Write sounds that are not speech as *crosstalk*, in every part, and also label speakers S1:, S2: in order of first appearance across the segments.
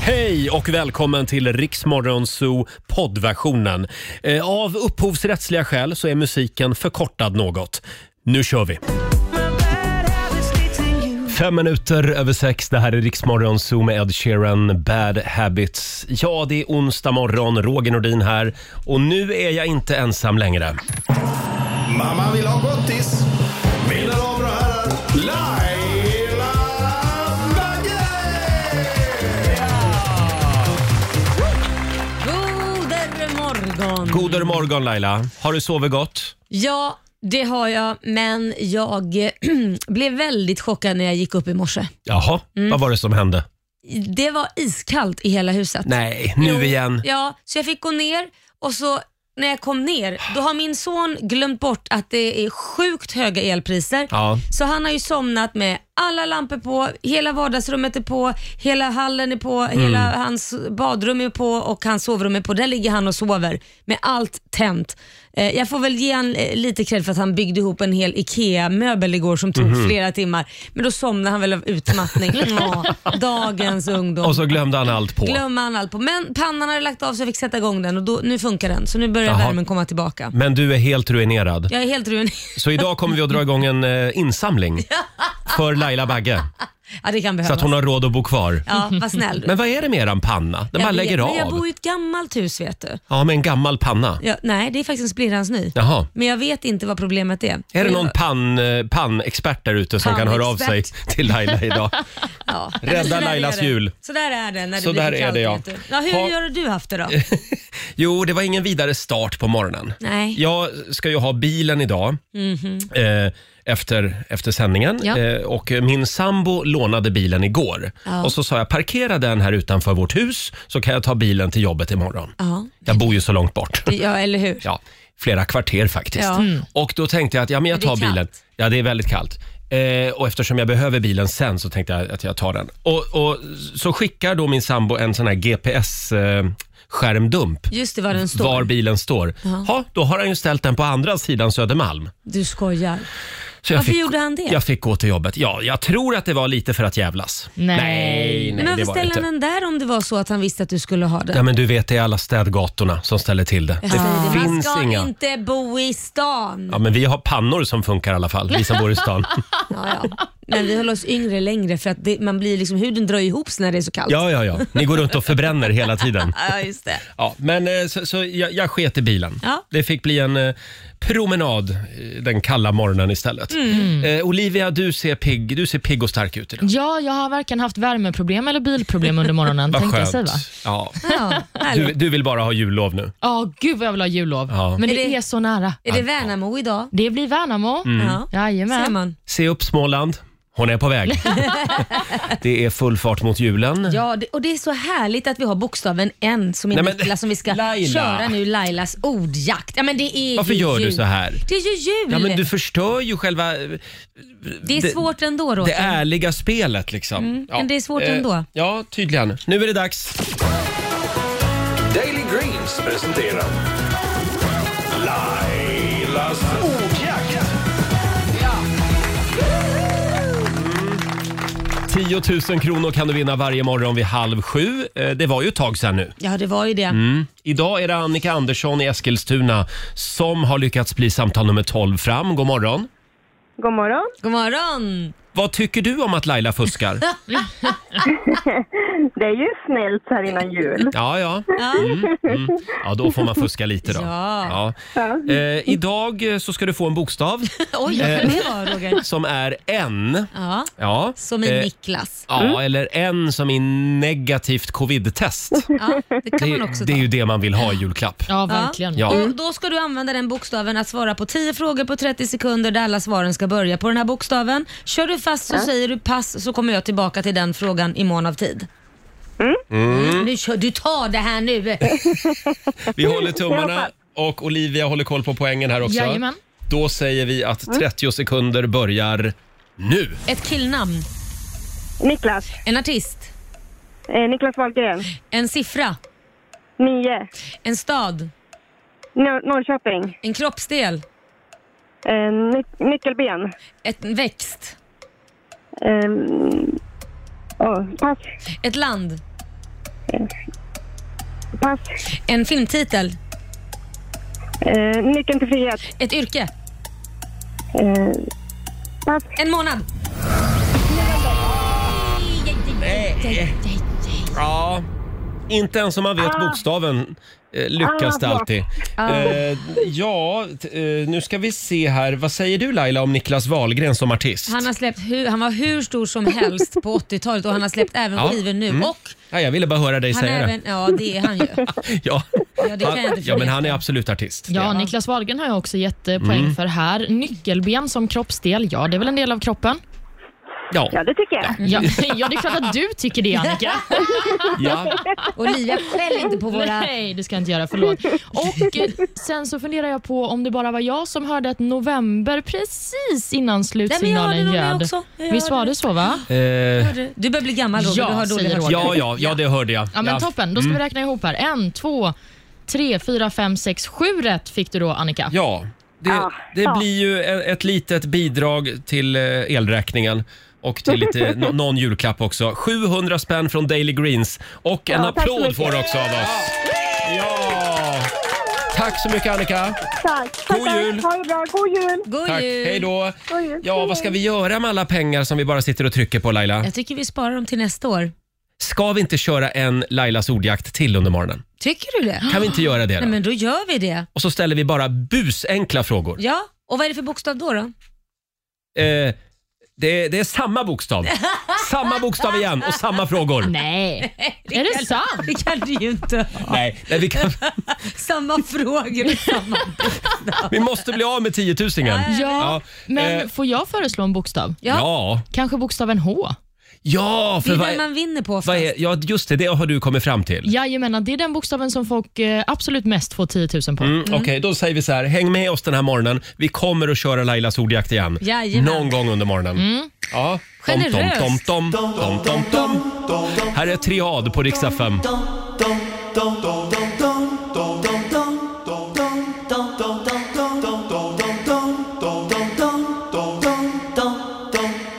S1: Hej och välkommen till Riksmorgon Zoo poddversionen. Eh, Av upphovsrättsliga skäl så är musiken förkortad något. Nu kör vi! Fem minuter över sex, det här är Riksmorgon Zoo med Ed Sheeran, Bad Habits. Ja, det är onsdag morgon, Roger Nordin här och nu är jag inte ensam längre.
S2: Mamma vill ha gottis. Mina damer och herrar, Laila
S3: Goder morgon!
S1: God morgon Laila, har du sovit gott?
S3: Ja, det har jag, men jag *clears throat* blev väldigt chockad när jag gick upp i morse.
S1: Jaha,
S3: Mm.
S1: vad var det som hände?
S3: Det var iskallt i hela huset.
S1: Nej, nu
S3: Jo,
S1: igen.
S3: Ja, så jag fick gå ner och så när jag kom ner, då har min son glömt bort att det är sjukt höga elpriser.
S1: Ja.
S3: Så han har ju somnat med alla lampor på, hela vardagsrummet är på, hela hallen är på,
S1: Mm.
S3: hela hans badrum är på och hans sovrum är på. Där ligger han och sover med allt tänt. Eh, Jag får väl ge han eh, lite cred för att han byggde ihop en hel IKEA-möbel igår som tog
S1: Mhm.
S3: flera timmar. Men då somnade han väl av
S1: *laughs*
S3: utmattning. Ja, dagens ungdom.
S1: Och så glömde han allt på.
S3: Glömmer han allt på. Men pannan hade lagt av så jag fick sätta igång den och då, nu funkar den. Så nu börjar
S1: Jaha.
S3: värmen komma tillbaka.
S1: Men du är helt ruinerad.
S3: Jag är helt ruinerad. *laughs*
S1: Så idag kommer vi att dra igång en eh, insamling för Laila Bagge
S3: Ja, det kan
S1: så
S3: behövas.
S1: att hon har råd att bo kvar.
S3: Ja, vad snäll du.
S1: Men vad är det med eran panna? Den bara
S3: Jag vet,
S1: lägger
S3: Men jag
S1: av.
S3: bor i ett gammalt hus vet du.
S1: Ja, med en gammal panna.
S3: Jag, nej, det är faktiskt en splirrans ny.
S1: Jaha.
S3: Men jag vet inte vad problemet är.
S1: Är det
S3: Och
S1: någon
S3: jag-
S1: pan, eh, pannexpert där ute som kan höra av sig till Laila
S3: *laughs*
S1: idag?
S3: Ja. Nej, men
S1: Rädda
S3: så där är
S1: Lailas
S3: det.
S1: jul.
S3: Så där är det när det
S1: Så
S3: blir
S1: där
S3: för
S1: är
S3: kallt.
S1: det, ja.
S3: vet du. ja hur
S1: Ha-
S3: gör du haft
S1: *laughs*
S3: det då?
S1: Jo, det var ingen vidare start på morgonen.
S3: Nej. Mhm.
S1: Jag ska ju ha bilen idag eh, efter, efter sändningen
S3: Ja.
S1: eh, och min sambo lånade bilen igår.
S3: Ja.
S1: Och så sa jag parkera den här utanför vårt hus så kan jag ta bilen till jobbet imorgon.
S3: Ja.
S1: Jag bor ju så långt bort.
S3: ja, eller hur?
S1: Ja, flera kvarter faktiskt.
S3: Ja. Mm.
S1: Och då tänkte jag att ja, men jag
S3: Det är
S1: tar bilen.
S3: kallt.
S1: Ja, det är väldigt kallt. Eh, och eftersom jag behöver bilen sen så tänkte jag att jag tar den. Och, och så skickar då min sambo en sån här GPS eh, skärmdump
S3: Just det, var den står.
S1: var bilen står. Ja, då har han ju ställt den på andra sidan Södermalm.
S3: Du skojar.
S1: Så jag
S3: Varför
S1: fick,
S3: gjorde han det?
S1: Jag fick gå till jobbet. Ja, jag tror att det var lite för att jävlas.
S4: Nej.
S1: nej, nej
S3: men
S1: det
S3: varför
S1: var det
S3: ställde
S1: inte.
S3: han den där om det var så att han visste att du skulle ha den?
S1: Ja, men du vet, det är alla städgatorna som ställer till det.
S3: Jag säger
S1: Det
S3: det, man
S1: finns
S3: ska
S1: inga.
S3: inte bo i stan.
S1: Ja, men vi har pannor som funkar i alla fall, vi som bor i
S3: *laughs*
S1: stan.
S3: Ja, ja. Men vi höll oss yngre längre för att det, man blir liksom, huden drar ihop sig när det är så kallt.
S1: Ja, ja, ja. Ni går runt och förbränner hela tiden.
S3: Ja, just det.
S1: Ja, men eh, så, så jag, jag sket i bilen.
S3: Ja.
S1: Det fick bli en eh, promenad eh, den kalla morgonen istället.
S3: Mm.
S1: Eh, Olivia, du ser, pigg, du ser pigg och stark ut idag.
S4: Ja, jag har varken haft värmeproblem eller bilproblem under
S1: *laughs*
S4: morgonen.
S1: Vad
S4: tänkte jag
S1: skönt.
S4: säga, va?
S1: Ja.
S3: Ja, härligt.
S1: Du, du vill bara ha jullov nu.
S4: Ja, gud vad jag vill ha jullov.
S1: Ja.
S4: Men
S3: Är
S4: det,
S3: det-
S4: är så nära.
S3: är det Värnamo idag?
S1: Mm.
S4: Det blir Värnamo.
S3: Ja. Ser
S4: Jajamän.
S3: man.
S1: Se upp Småland. Hon är på
S3: *laughs*
S1: väg. det är full fart mot julen.
S3: Ja, det, och det är så härligt att vi har bokstaven N som är
S1: Nej, men-
S3: Niklas som vi ska
S1: Laila.
S3: köra nu, Lailas ordjakt. Ja, men det är
S1: Varför
S3: ju
S1: gör
S3: jul.
S1: du så här?
S3: Det är ju jul!
S1: Ja, men du förstör ju själva eh,
S3: det är
S1: det-
S3: svårt ändå
S1: det
S3: Roger.
S1: ärliga spelet. Liksom. ja.
S3: Mm, men det är svårt ändå.
S1: Ja, tydligen. Nu är det dags.
S2: Daily Greens presenterar Lailas ordjakt.
S1: 10 000 kronor kan du vinna varje morgon vid halv sju. Eh, Det var ju ett tag sedan nu.
S3: Ja, det var ju det.
S1: Mm. Idag är det Annika Andersson i Eskilstuna som har lyckats bli samtal nummer 12 fram. God morgon.
S5: God morgon.
S3: God morgon!
S1: Vad tycker du om att Laila
S3: *laughs*
S1: fuskar?
S5: Det är ju snällt så här innan jul.
S1: Ja, ja. Mm,
S3: Ja.
S1: Ja, då får man fuska lite då.
S3: *laughs* Ja.
S1: Ja. Eh, idag eh, så ska du få en bokstav
S3: *laughs* Oj, vad
S1: Eh.
S3: kan det vara Roger?
S1: som är en.
S3: Ja,
S1: Ja.
S3: som i
S1: Eh,
S3: Niklas.
S1: Ja, eller en som i negativt covid-test.
S3: Ja, det kan man också
S1: Det, det
S3: ta.
S1: är ju det man vill ha i julklapp.
S4: Ja, verkligen.
S1: Ja.
S3: Och då ska du använda den bokstaven att svara på 10 frågor på 30 sekunder där alla svaren ska börja på den här bokstaven. Kör du fast så säger du pass så kommer jag tillbaka till den frågan i mån av tid. Mm, nu kör, du tar det här nu.
S1: Vi håller tummarna och Olivia håller koll på poängen här också.
S4: Jajamän.
S1: Då säger vi att
S3: Mm.
S1: 30 sekunder börjar nu.
S3: Ett killnamn,
S5: Niklas.
S3: en artist,
S5: Eh, Niklas Wahlgren.
S3: en siffra,
S5: Nio.
S3: en stad,
S5: Nor- Norrköping.
S3: en kroppsdel,
S5: Eh, ny- nyckelben.
S3: ett en växt,
S5: Eh, oh, pass. Eh,
S3: ett land,
S5: Pass.
S3: En filmtitel.
S5: Eh, nyckeln till frihet.
S3: Ett yrke.
S5: Eh, pass.
S3: En månad.
S1: Ja. Inte ens om man
S3: Ah.
S1: vet bokstaven eh, lyckas det
S5: Ah, bra.
S1: alltid. Eh, ja, t- eh, nu ska vi se här. Vad säger du Laila om Niklas Wahlgren som artist?
S3: Han, har släppt hu- han var hur stor som helst på 80-talet och han har släppt även
S1: Ja.
S3: skivor nu.
S1: Mm.
S3: Och
S1: Ja, jag ville bara höra dig
S3: han
S1: säga
S3: är
S1: det.
S3: även, ja det är han ju.
S1: *laughs* Ja.
S3: Ja, det kan jag inte
S1: ja, men
S3: förneka.
S1: han är absolut artist.
S4: Ja, Niklas Wahlgren har jag också gett eh, poäng
S1: Mm.
S4: för här. Nyckelben som kroppsdel, ja det är väl en del av kroppen?
S1: Ja.
S5: Ja, det tycker
S3: Mm.
S5: jag.
S4: Ja, *laughs* ja det är klart att du tycker det Annika.
S1: Ja.
S3: Olivia skäll inte på *laughs* våra...
S4: Nej, det ska jag inte göra. Förlåt. Och eh, sen så funderar jag på om det bara var jag som hörde ett november precis innan
S3: Nej,
S4: slutsignalen
S3: men jag hörde nog det
S4: ljöd.
S3: också. Jag
S4: Visst
S3: hörde
S4: var det så va?
S1: Eh,
S3: Du börjar bli gammal Roger,
S4: Ja,
S3: du har dålig
S4: säger
S3: hörsel.
S4: Roger.
S1: ja, ja, ja, Mm. det hörde jag.
S4: Ja, men Toppen, då ska vi räkna ihop här. En, två, tre, fyra, fem, sex, sju rätt fick du då Annika.
S1: Ja, det,
S5: Ja.
S1: det
S5: Ah, Ja.
S1: blir ju e- ett litet bidrag till eh, elräkningen. Och till lite,
S5: *laughs*
S1: nå- någon julklapp också. 700 spänn från Daily Greens. Och en
S5: Ja, tack så
S1: applåd
S5: mycket.
S1: får du också av oss. Ja! Tack så mycket Annika.
S5: Tack.
S1: God jul.
S5: Ha det bra. God jul.
S3: God
S1: Tack.
S3: jul!
S1: Hej då.
S5: God jul.
S1: Ja, vad ska vi göra med alla pengar som vi bara sitter och trycker på Laila?
S3: Jag tycker vi sparar dem till nästa år.
S1: Ska vi inte köra en Lailas ordjakt till under morgonen?
S3: Tycker du det?
S1: Kan vi inte göra det
S3: Nej,
S1: då?
S3: men då gör vi det.
S1: Och så ställer vi bara busenkla frågor.
S3: Ja, och vad är det för bokstav då? då?
S1: Eh, det, är, det är samma bokstav. samma bokstav igen och samma frågor.
S4: Nej, är det sant?
S3: Det kan du ju inte.
S1: Nej, nej vi, kan,
S3: Samma frågor och samma...
S1: vi måste bli av med 10 000 igen.
S4: Ja,
S1: eh,
S4: men får jag föreslå en bokstav?
S3: Ja,
S1: ja.
S4: Kanske bokstaven H?
S1: ja,
S3: det
S1: för
S3: är
S1: vad
S3: den
S1: är,
S3: man vinner på oftast.
S1: vad är, ja, just det, det har du kommit fram till.
S4: Jajamän, det är den bokstaven som folk eh, absolut mest får 10 000 på.
S1: Mm, Okej, då säger vi så här. Häng med oss den här morgonen. Vi kommer att köra Lailas ordjakt igen.
S3: Jajamän.
S1: Någon gång under morgonen. Ja. Tom, tom,
S3: Generöst.
S1: tom, tom, tom, tom, tom. Här är Triad på Rix FM.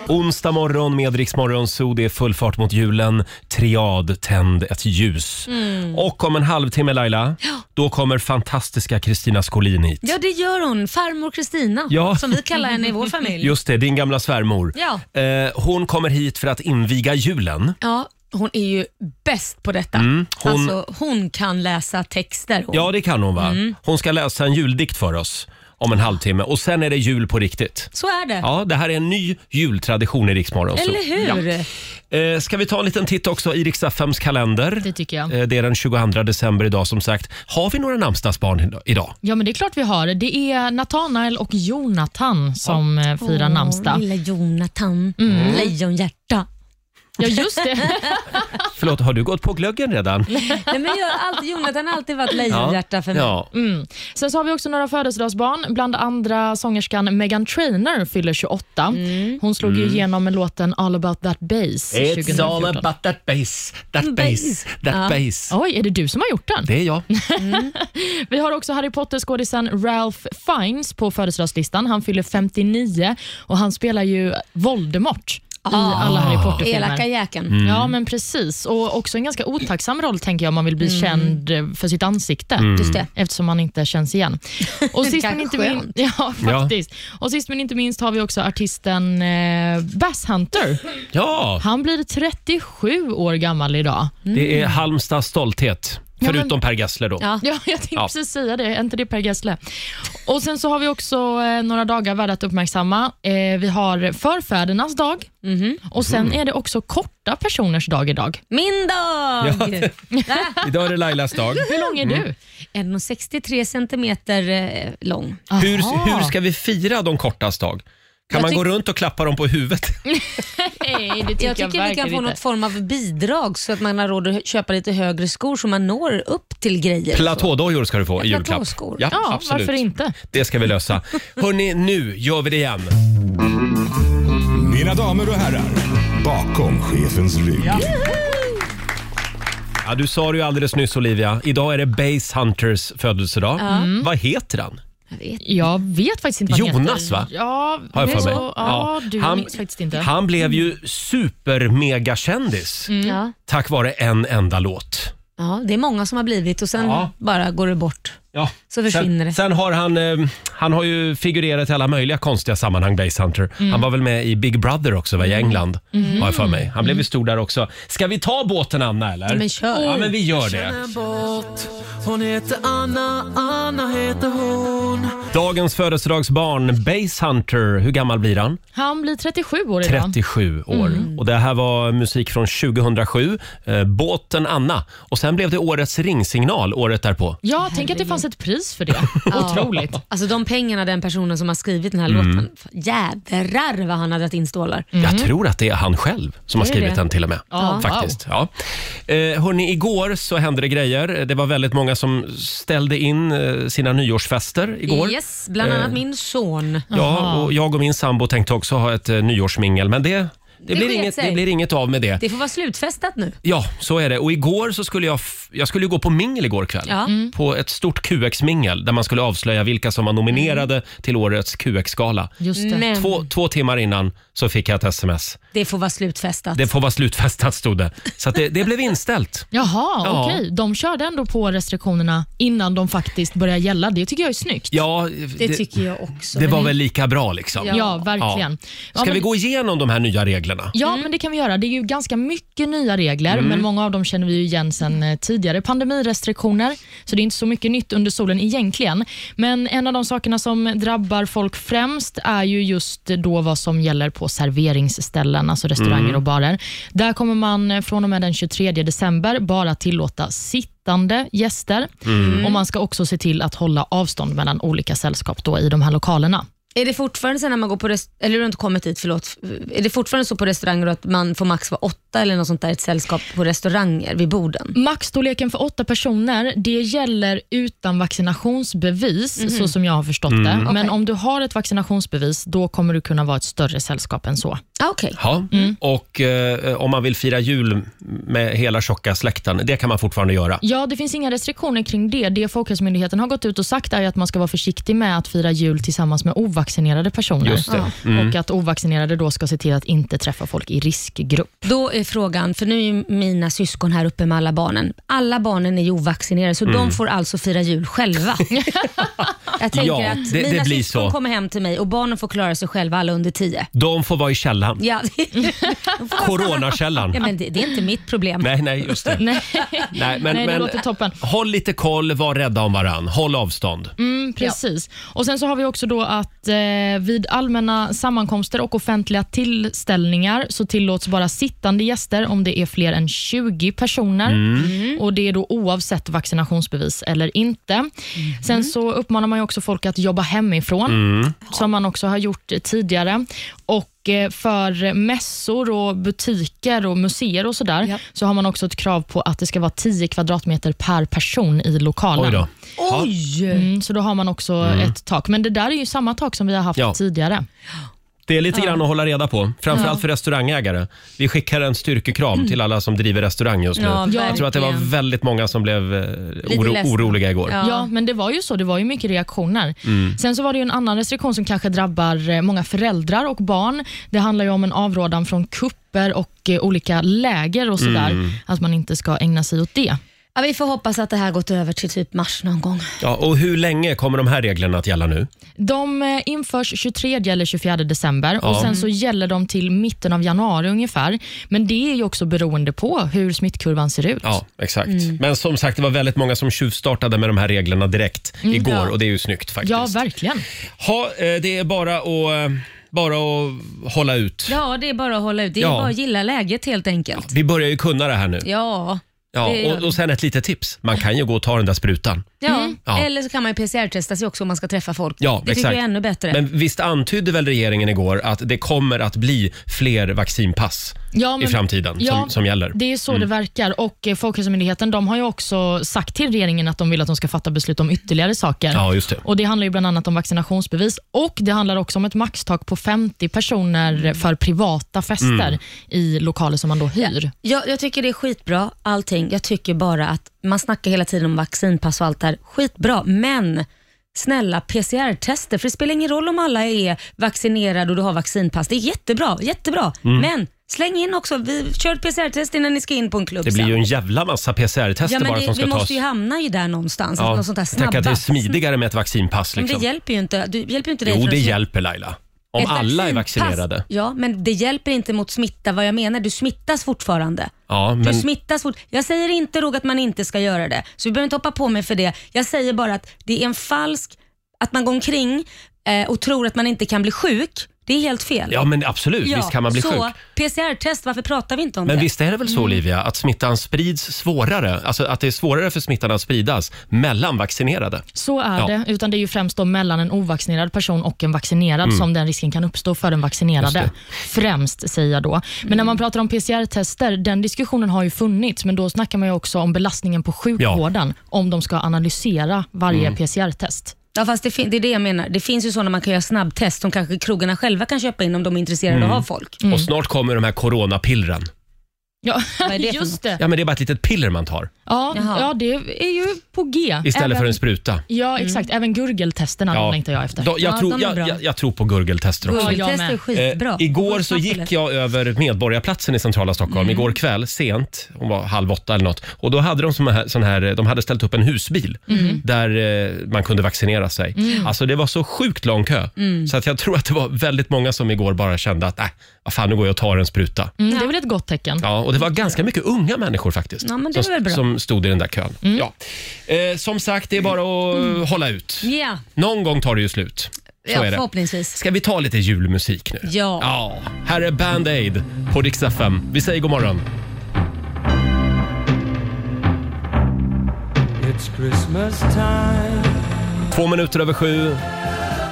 S1: Onsdag morgon med Rix Morgon Zoo. Det är full fart mot julen. Triad, tänd ett ljus.
S3: Mm.
S1: Och om en halvtimme, Laila, då kommer fantastiska Kristina Skolin hit.
S3: Ja, det gör hon. Farmor Kristina,
S1: Ja.
S3: som vi kallar henne i vår familj.
S1: Just det, din gamla svärmor.
S3: Ja.
S1: Eh, hon kommer hit för att inviga julen.
S3: Ja, hon är ju bäst på detta.
S1: Mm, hon-
S3: hon... Alltså, hon kan läsa texter. Hon.
S1: Ja, det kan hon va?
S3: Mm.
S1: Hon ska läsa en juldikt för oss om en halvtimme och sen är det jul på riktigt.
S3: Så är det.
S1: Ja, det här är en ny jultradition i Riksmorgon.
S3: Eller hur?
S1: Eh, ska vi ta en liten titt också i Riks-FMs kalender?
S4: Det tycker jag.
S1: Eh, det är den 22 december idag som sagt. Har vi några namnsdagsbarn i- idag?
S4: Ja, men det är klart vi har. Det är Natanael och Jonathan som eh, firar namnsdag.
S3: Åh, Lilla Jonathan, Mm. lejonhjärta.
S4: Ja, just det.
S3: Ah.
S1: Förlåt, har du gått på glöggen redan?
S3: Nej, men jag, har alltid, Jonathan har alltid varit lejonhjärta för mig. Mm,
S1: Ja.
S4: Sen så har vi också några födelsedagsbarn. Bland andra sångerskan Megan Trainor fyller 28. Hon slog
S1: Mm.
S4: ju igenom med låten All about that bass 2014.
S1: that bass, that
S3: Bass. Mm, Ja. Mm.
S1: bass.
S4: Oj, är det du som har gjort den?
S1: Det är jag.
S4: Vi har också Harry Potter-skådisen Ralph Fiennes på födelsedagslistan. Han fyller 59 och han spelar ju Voldemort i alla Harry Potter-filmer.
S3: Ah, Elaka jäkeln.
S4: Ja, men Mm. precis. Och också en ganska otacksam roll, tänker jag, om man vill bli
S3: Mm.
S4: känd eh, för sitt ansikte.
S3: Just det.
S4: Eftersom man inte
S3: *laughs*
S4: känns igen. Och sist, men
S3: kanske
S4: inte min-
S3: skönt.
S4: *laughs* ja, faktiskt. Och sist men inte minst har vi också artisten eh, Bass Hunter.
S1: Ja,
S4: Han blir 37 år gammal idag.
S1: det är Halmstads stolthet.
S4: men-
S1: Förutom Per Gessle då.
S3: Mm. Ja.
S4: Ja, jag tänkte
S1: Ja.
S4: precis säga det. Är inte det Per Gessle? Och sen så har vi också eh, några dagar värda att uppmärksamma. Eh, vi har förfädernas dag
S1: Mhm.
S4: och sen
S1: Mm.
S4: är det också korta personers dag idag.
S3: Min dag!
S1: *laughs* Idag är det Lailas dag.
S4: Hur lång
S1: Mm.
S4: är du?
S3: 1,63 centimeter eh, lång.
S1: Hur,
S4: Aha.
S1: hur ska vi fira de kortas dag? Kan
S3: Jag
S1: man gå
S3: tyck-
S1: runt och klappa dem på
S3: *laughs*
S1: huvudet?
S4: Nej, det tycker
S3: Jag tycker vi kan få något form av bidrag så att man har råd att köpa lite högre skor så man når upp till grejer.
S1: Platådojor ska du få i
S3: Ja,
S1: julklapp.
S3: platåskor.
S1: Ja,
S4: Ja,
S1: absolut.
S4: varför inte?
S1: Det ska vi lösa. Hörni, nu gör vi det igen.
S2: Mina damer och herrar, bakom chefens rygg.
S1: Ja, du sa det ju alldeles nyss Olivia. Idag är det Base Hunters födelsedag. Mm.
S4: Mm.
S1: Vad heter han?
S3: Jag vet.
S4: Jag vet faktiskt inte vad han
S1: Jonas,
S4: heter.
S1: va?
S4: Ja,
S1: Har jag
S4: det är
S1: för mig.
S4: så. Ja, du
S1: Han-
S4: minns faktiskt inte. Mm.
S1: Han blev ju super mega kändis
S3: Ja.
S1: tack vare en enda låt.
S3: Mm. Ja, det är många som har blivit och sen
S1: Ja.
S3: bara går det bort.
S1: Ja.
S3: Så försvinner
S1: sen,
S3: det.
S1: Sen har han, eh, han har ju figurerat i alla möjliga konstiga sammanhang, Base Hunter.
S3: Mm.
S1: Han var väl med i Big Brother också, va, i England, har jag för mig. Han blev ju stor där också. Ska vi ta båten, Anna, eller?
S3: Mm. Ja, men kör.
S1: Ja, men vi gör det.
S6: Hon heter Anna, Anna heter hon.
S1: Dagens födelsedagsbarn, Base Hunter, hur gammal blir han?
S4: Han blir 37 år idag.
S1: 37 år.
S3: Mm.
S1: Och Det här var musik från 2007, eh, Båten Anna. Och Sen blev det årets ringsignal året därpå.
S4: Ja, tänk att det fanns ett
S1: *laughs*
S4: pris för det. Otroligt.
S3: Alltså de pengarna den personen som har skrivit den här låten, fan, jädrar vad han har dragit in stålar.
S1: Jag tror att det är han själv som har
S4: Är det
S1: skrivit
S4: det?
S1: den till och med.
S4: Ja.
S1: Faktiskt. Ja. Eh, hörni, igår så hände det grejer. Det var väldigt många som ställde in eh, sina nyårsfester igår.
S3: Yes, bland annat min son.
S1: Ja, och jag och min sambo tänkte också ha ett eh, nyårsmingel, men det, det, blir,
S3: sket
S1: inget,
S3: sig.
S1: det blir inget av med det.
S3: Det får vara slutfestat nu.
S1: Ja, så är det. Och igår så skulle jag, f- jag skulle ju gå på mingel igår kväll.
S3: Ja. Mm.
S1: På ett stort QX-mingel där man skulle avslöja vilka som var nominerade till årets QX-gala.
S4: Just det.
S3: Men
S1: Två, två timmar innan så fick jag ett sms.
S3: det får vara slutfestat.
S1: Det får vara slutfestat stod det. Så att det, det blev inställt.
S4: Jaha,
S1: Ja.
S4: okej. De körde ändå på restriktionerna innan de faktiskt började gälla. Det tycker jag är snyggt.
S1: Ja,
S3: Det
S1: det,
S3: tycker jag också.
S1: det var väl lika bra liksom.
S4: Ja, verkligen. Ja,
S1: Ska
S4: men,
S1: vi gå igenom de här nya reglerna?
S4: Ja, men det kan vi göra. Det är ju ganska mycket nya regler, men många av dem känner vi ju igen sedan eh, tidigare pandemirestriktioner, så det är inte så mycket nytt under solen egentligen. Men en av de sakerna som drabbar folk främst är ju just då vad som gäller på serveringsställen, alltså restauranger och barer. Där kommer man eh, från och med den 23 december bara tillåta sittande gäster och man ska också se till att hålla avstånd mellan olika sällskap då i de här lokalerna.
S3: Är det fortfarande så när man går på rest- eller har du inte kommit dit, förlåt. Är det fortfarande så på restauranger att man får max vara åtta eller något sånt där i ett sällskap på restauranger vid borden?
S4: Maxstorleken för åtta personer, det gäller utan vaccinationsbevis, så som jag har förstått det. Men om du har ett vaccinationsbevis, då kommer du kunna vara ett större sällskap än så.
S3: Ah, Okej.
S1: Ja.
S4: Mm.
S1: Och eh, om man vill fira jul med hela tjocka släkten, det kan man fortfarande göra.
S4: Ja, det finns inga restriktioner kring det. Det Folkhälsomyndigheten har gått ut och sagt är ju att man ska vara försiktig med att fira jul tillsammans med ovaccinerade personer.
S1: Just det. Mm.
S4: Och att ovaccinerade då ska se till att inte träffa folk i riskgrupp.
S3: Då är frågan, för nu är ju mina syskon här uppe med alla barnen. Alla barnen är ju ovaccinerade, så
S1: Mm.
S3: de får alltså fira
S1: *laughs*
S3: jul själva. Jag tänker
S1: Ja,
S3: att
S1: det- det
S3: mina
S1: blir
S3: syskon
S1: så.
S3: kommer hem till mig och barnen får klara sig själva, alla under tio.
S1: De får vara i källaren. *laughs*
S3: Ja, *laughs*
S1: Coronakällan.
S3: ja, men det, det är inte mitt problem.
S1: Nej, nej, just det.
S4: Nej,
S1: Nej, men,
S4: det
S1: men
S4: låter toppen.
S1: håll lite koll, var rädda om varann, håll avstånd.
S4: Mm, precis. Och Sen så har vi också då att eh, vid allmänna sammankomster och offentliga tillställningar så tillåts bara sittande gäster om det är fler än 20 personer.
S1: Mm.
S4: Och Det är då oavsett vaccinationsbevis eller inte. Sen så uppmanar man ju också folk att jobba hemifrån,
S1: Mm.
S4: som man också har gjort tidigare. Och eh, för mässor, och butiker och museer och sådär så har man också ett krav på att det ska vara 10 kvadratmeter per person i lokalen.
S1: Oj då.
S3: Oj!
S4: Mm, så då har man också ett tak. Men det där är ju samma tak som vi har haft
S1: Mm. Ja.
S4: tidigare.
S1: Det är lite grann att hålla reda på, framförallt för restaurangägare. Vi skickar en styrkekram till alla som driver restaurang just nu.
S3: Mm. Ja,
S1: Jag tror att det var
S3: verkligen.
S1: väldigt många som blev eh, oro,
S3: ledsna.
S1: oroliga igår.
S3: Ja.
S4: Ja. men det var ju så. Det var ju mycket reaktioner.
S1: Mm.
S4: Sen så var det ju en annan restriktion som kanske drabbar eh, många föräldrar och barn. Det handlar ju om en avrådan från kupper och eh, olika läger och sådär.
S1: Mm.
S4: Att man inte ska ägna sig åt det.
S3: Ja, vi får hoppas att det här gått över till typ mars någon gång.
S1: Ja, och hur länge kommer de här reglerna att gälla nu?
S4: De eh, införs 23 eller 24 december och
S1: Ja.
S4: sen så gäller de till mitten av januari ungefär. Men det är ju också beroende på hur smittkurvan ser ut.
S1: Ja, exakt.
S3: Mm.
S1: Men som sagt, det var väldigt många som tjuvstartade med de här reglerna direkt
S3: Mm.
S1: igår
S4: ja.
S1: och det är ju snyggt faktiskt.
S4: ja verkligen.
S1: ha, eh, det är bara att, eh, bara att hålla ut.
S3: Ja, det är bara att hålla ut. Det är
S1: Ja.
S3: bara att gilla läget helt enkelt.
S1: Vi börjar ju kunna det här nu.
S3: Ja.
S1: Ja,
S3: det gör
S1: och, och sen ett litet tips. Man kan ju gå och ta den där sprutan.
S3: Ja.
S1: Ja.
S3: eller så kan man ju PCR-testa sig också om man ska träffa folk.
S1: Ja,
S3: det tycker
S1: exakt.
S3: jag är ännu bättre.
S1: Men visst antydde väl regeringen igår att det kommer att bli fler vaccinpass
S4: Ja,
S1: i
S4: men-
S1: framtiden som, som gäller? Mm.
S4: Det är så det verkar. Och eh, Folkhälsomyndigheten de har ju också sagt till regeringen att de vill att de ska fatta beslut om ytterligare saker.
S1: Ja, just det.
S4: Och Det handlar ju bland annat om vaccinationsbevis och det handlar också om ett maxtak på 50 personer
S1: Mm.
S4: för privata fester i lokaler som man då hyr.
S3: Jag, jag tycker det är skitbra allting. Jag tycker bara att man snackar hela tiden om vaccinpass och allt det här. Skitbra, men snälla
S1: Mm.
S3: PCR-tester. För det spelar ingen roll om alla är vaccinerade och du har vaccinpass. Det är jättebra, jättebra. Men Släng in också, vi kör ett PCR-test innan ni ska in på en klubb
S1: Det blir
S3: sen.
S1: ju en jävla massa PCR-tester
S3: Ja, men
S1: bara
S3: det,
S1: som
S3: vi
S1: ska tas.
S3: måste ju hamna ju där någonstans.
S1: Ja,
S3: något sånt där
S1: tänk
S3: snabba.
S1: att det är smidigare med ett vaccinpass.
S3: Men
S1: Liksom.
S3: det hjälper ju inte. Du hjälper ju inte dig
S1: jo,
S3: för
S1: det
S3: att-
S1: hjälper Laila. Om
S3: Ett
S1: alla är
S3: vaccinpass-
S1: vaccinerade.
S3: Ja, men det hjälper inte mot smitta vad jag menar. Du smittas fortfarande.
S1: Ja,
S3: Du
S1: men
S3: smittas fort. Jag säger inte Roger att man inte ska göra det, så vi behöver inte hoppa på mig för det. Jag säger bara att det är en falsk, att man går omkring eh, och tror att man inte kan bli sjuk. Det är helt fel.
S1: Ja, men absolut.
S3: Ja,
S1: Visst kan man bli
S3: så, Mm.
S1: sjuk.
S3: PCR-test, varför pratar vi inte om
S1: Men
S3: det?
S1: visst är det väl så Olivia, att smittan sprids svårare? Alltså att det är svårare för smittan att spridas mellan vaccinerade?
S4: Så är
S1: Ja.
S4: det, utan det är ju främst då mellan en ovaccinerad person och en vaccinerad
S1: Mm.
S4: som den risken kan uppstå för den vaccinerade. Främst, säger jag då. Men
S1: Mm.
S4: när man pratar om PCR-tester, den diskussionen har ju funnits, men då snackar man ju också om belastningen på sjukvården, om de ska analysera varje
S1: Mm.
S4: PCR-test.
S3: Ja, fast det, fin- det är det jag menar. Det finns ju sådana man kan göra snabbtest som kanske krogarna själva kan köpa in om de är intresserade
S1: Mm.
S3: av folk.
S1: Och snart kommer de här coronapillren.
S4: Ja,
S3: är det för
S4: *laughs* just det.
S1: Ja, men det är bara ett litet piller man tar
S4: Ja,
S3: Jaha.
S4: ja, det är ju på G.
S1: istället
S4: Även-
S1: för en spruta.
S4: Ja, exakt.
S3: Mm.
S4: Även gurgeltesterna
S1: Ja.
S4: längtar jag efter.
S1: Då, jag,
S3: Ja,
S1: tror,
S3: de är
S1: jag,
S3: bra.
S1: jag, jag tror på gurgeltester också.
S4: jag
S3: Google-test
S4: med.
S3: är skitbra.
S1: Eh, igår
S3: Varför
S1: så
S3: det?
S1: gick jag över Medborgarplatsen i centrala Stockholm.
S3: Mm.
S1: Igår kväll, sent, hon var halv åtta eller något. Och då hade de, sån här, sån här, de hade ställt upp en husbil
S3: Mm.
S1: där eh, man kunde vaccinera sig. Alltså det var så sjukt lång kö.
S3: Mm.
S1: Så att jag tror att det var väldigt många som igår bara kände att, äh, vad fan nu går jag och tar en spruta.
S4: Mm, det är väl ett gott tecken.
S1: Ja, och det var ganska mycket unga människor faktiskt.
S3: Ja, men det är
S1: som,
S3: väl bra. Mm.
S1: som stod i den där kön. Ja. Eh, som sagt, det är bara att eh, hålla ut.
S3: Ja,
S1: Någon gång tar det ju slut. Så
S3: ja
S1: är det.
S3: förhoppningsvis.
S1: Ska vi ta lite julmusik nu?
S3: Ja.
S1: ja. Här är Band Aid på Dix FM. Vi säger god morgon.
S6: It's Christmas time
S1: Två minuter över sju.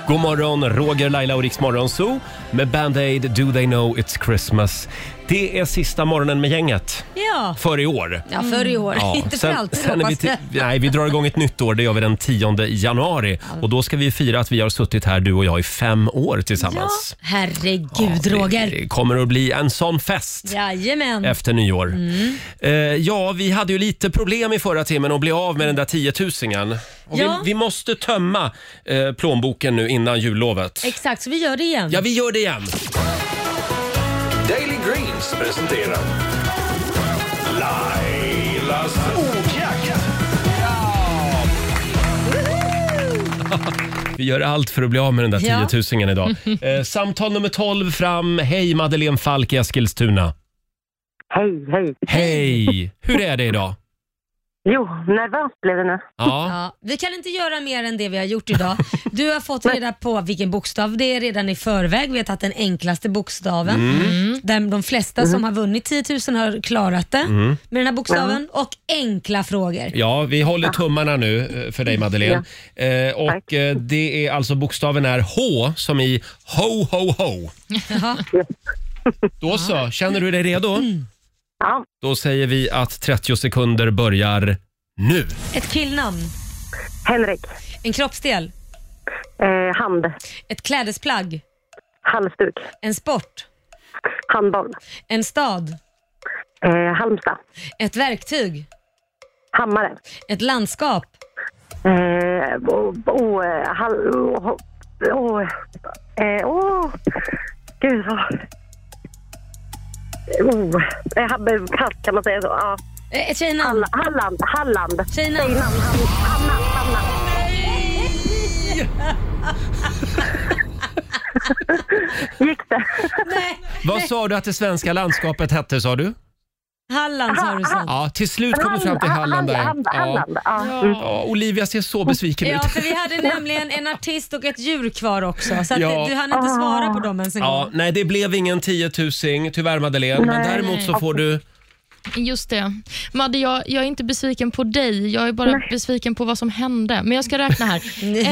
S1: God morgon, Roger, Laila och Riks Morgonzoo med Band Aid, Do They Know It's Christmas. Det är sista morgonen med gänget
S3: Ja,
S1: för i år.
S3: ja för i år.
S1: Mm. Ja,
S3: *laughs* Inte för alltid
S1: sen är vi,
S3: hoppas
S1: till,
S3: jag.
S1: nej, vi drar igång ett nytt år, det gör vi den 10 januari. Och då ska vi fira att vi har suttit här du och jag i fem år
S3: Ja,
S1: tillsammans.
S3: herregud
S1: det-
S3: Roger.
S1: Det kommer att bli en sån fest.
S3: Jajamän.
S1: efter nyår.
S3: Mm.
S1: Eh, ja, vi hade ju lite problem i förra timmen att bli av med den där tiotusingen. Och
S3: Ja.
S1: vi, vi måste tömma eh, plånboken nu innan jullovet.
S3: Exakt, så vi gör det igen.
S1: Ja, vi gör det igen.
S2: Daily Greens presenterar Lailas ordjakt.
S1: Vi gör allt för att bli av med den där
S3: Ja.
S1: tiotusingen idag. Eh, samtal nummer 12 fram. Hej, Madeleine Falk i Eskilstuna.
S5: Hej, hej.
S1: Hej! Hur är det idag?
S5: Jo, nervöst blev det nu.
S1: Ja.
S3: Ja, vi kan inte göra mer än det vi har gjort idag. Du har fått reda på vilken bokstav det är redan i förväg. Vi har tagit den enklaste bokstaven. Mm. Där de flesta som har vunnit 10 000 har klarat det med den här bokstaven. Och enkla frågor.
S1: Ja, vi håller tummarna nu eh, för dig Madeleine. Eh,
S5: Tack.
S1: och eh, det är alltså bokstaven är H som i ho ho ho.
S3: Jaha.
S1: Då så, känner du dig redo?
S5: Ja,
S1: Då säger vi att 30 sekunder börjar nu.
S3: Ett killnamn,
S5: Henrik.
S3: en kroppsdel,
S5: Eh, hand.
S3: ett klädesplagg,
S5: Halsduk.
S3: en sport,
S5: Handboll.
S3: en stad,
S5: Eh, Halmstad.
S3: ett verktyg,
S5: Hammare.
S3: ett landskap,
S5: Eh, oh, oh, eh, hal, oh, oh, eh, oh. Gud, vad... Oh. eh, ha- Pass, kan man säga så? Ja.
S3: eh, ett tjejnamn.
S5: Hall- Halland. Halland.
S3: Tjejnamn.
S5: Hamnat. Hamnat. Gick det?
S3: Nej.
S1: Vad sa du att det svenska landskapet hette sa du?
S3: Halland sa du sen.
S1: Ja, till slut kom du fram till Halland där.
S5: Halland,
S1: Ja.
S5: Halland, ja.
S1: Ja, Olivia ser så besviken ut.
S3: Ja, för vi hade nämligen en artist och ett djur kvar också. Så att
S1: Ja.
S3: du hann inte svara på dem ens en gång.
S1: Ja, nej, det blev ingen tiotusing, tyvärr Madeleine. Men
S5: Nej.
S1: däremot så får du...
S4: Just det. Madde, jag, jag är inte besviken på dig. Jag är bara besviken på vad som hände. Men jag ska räkna
S7: *laughs*
S4: här.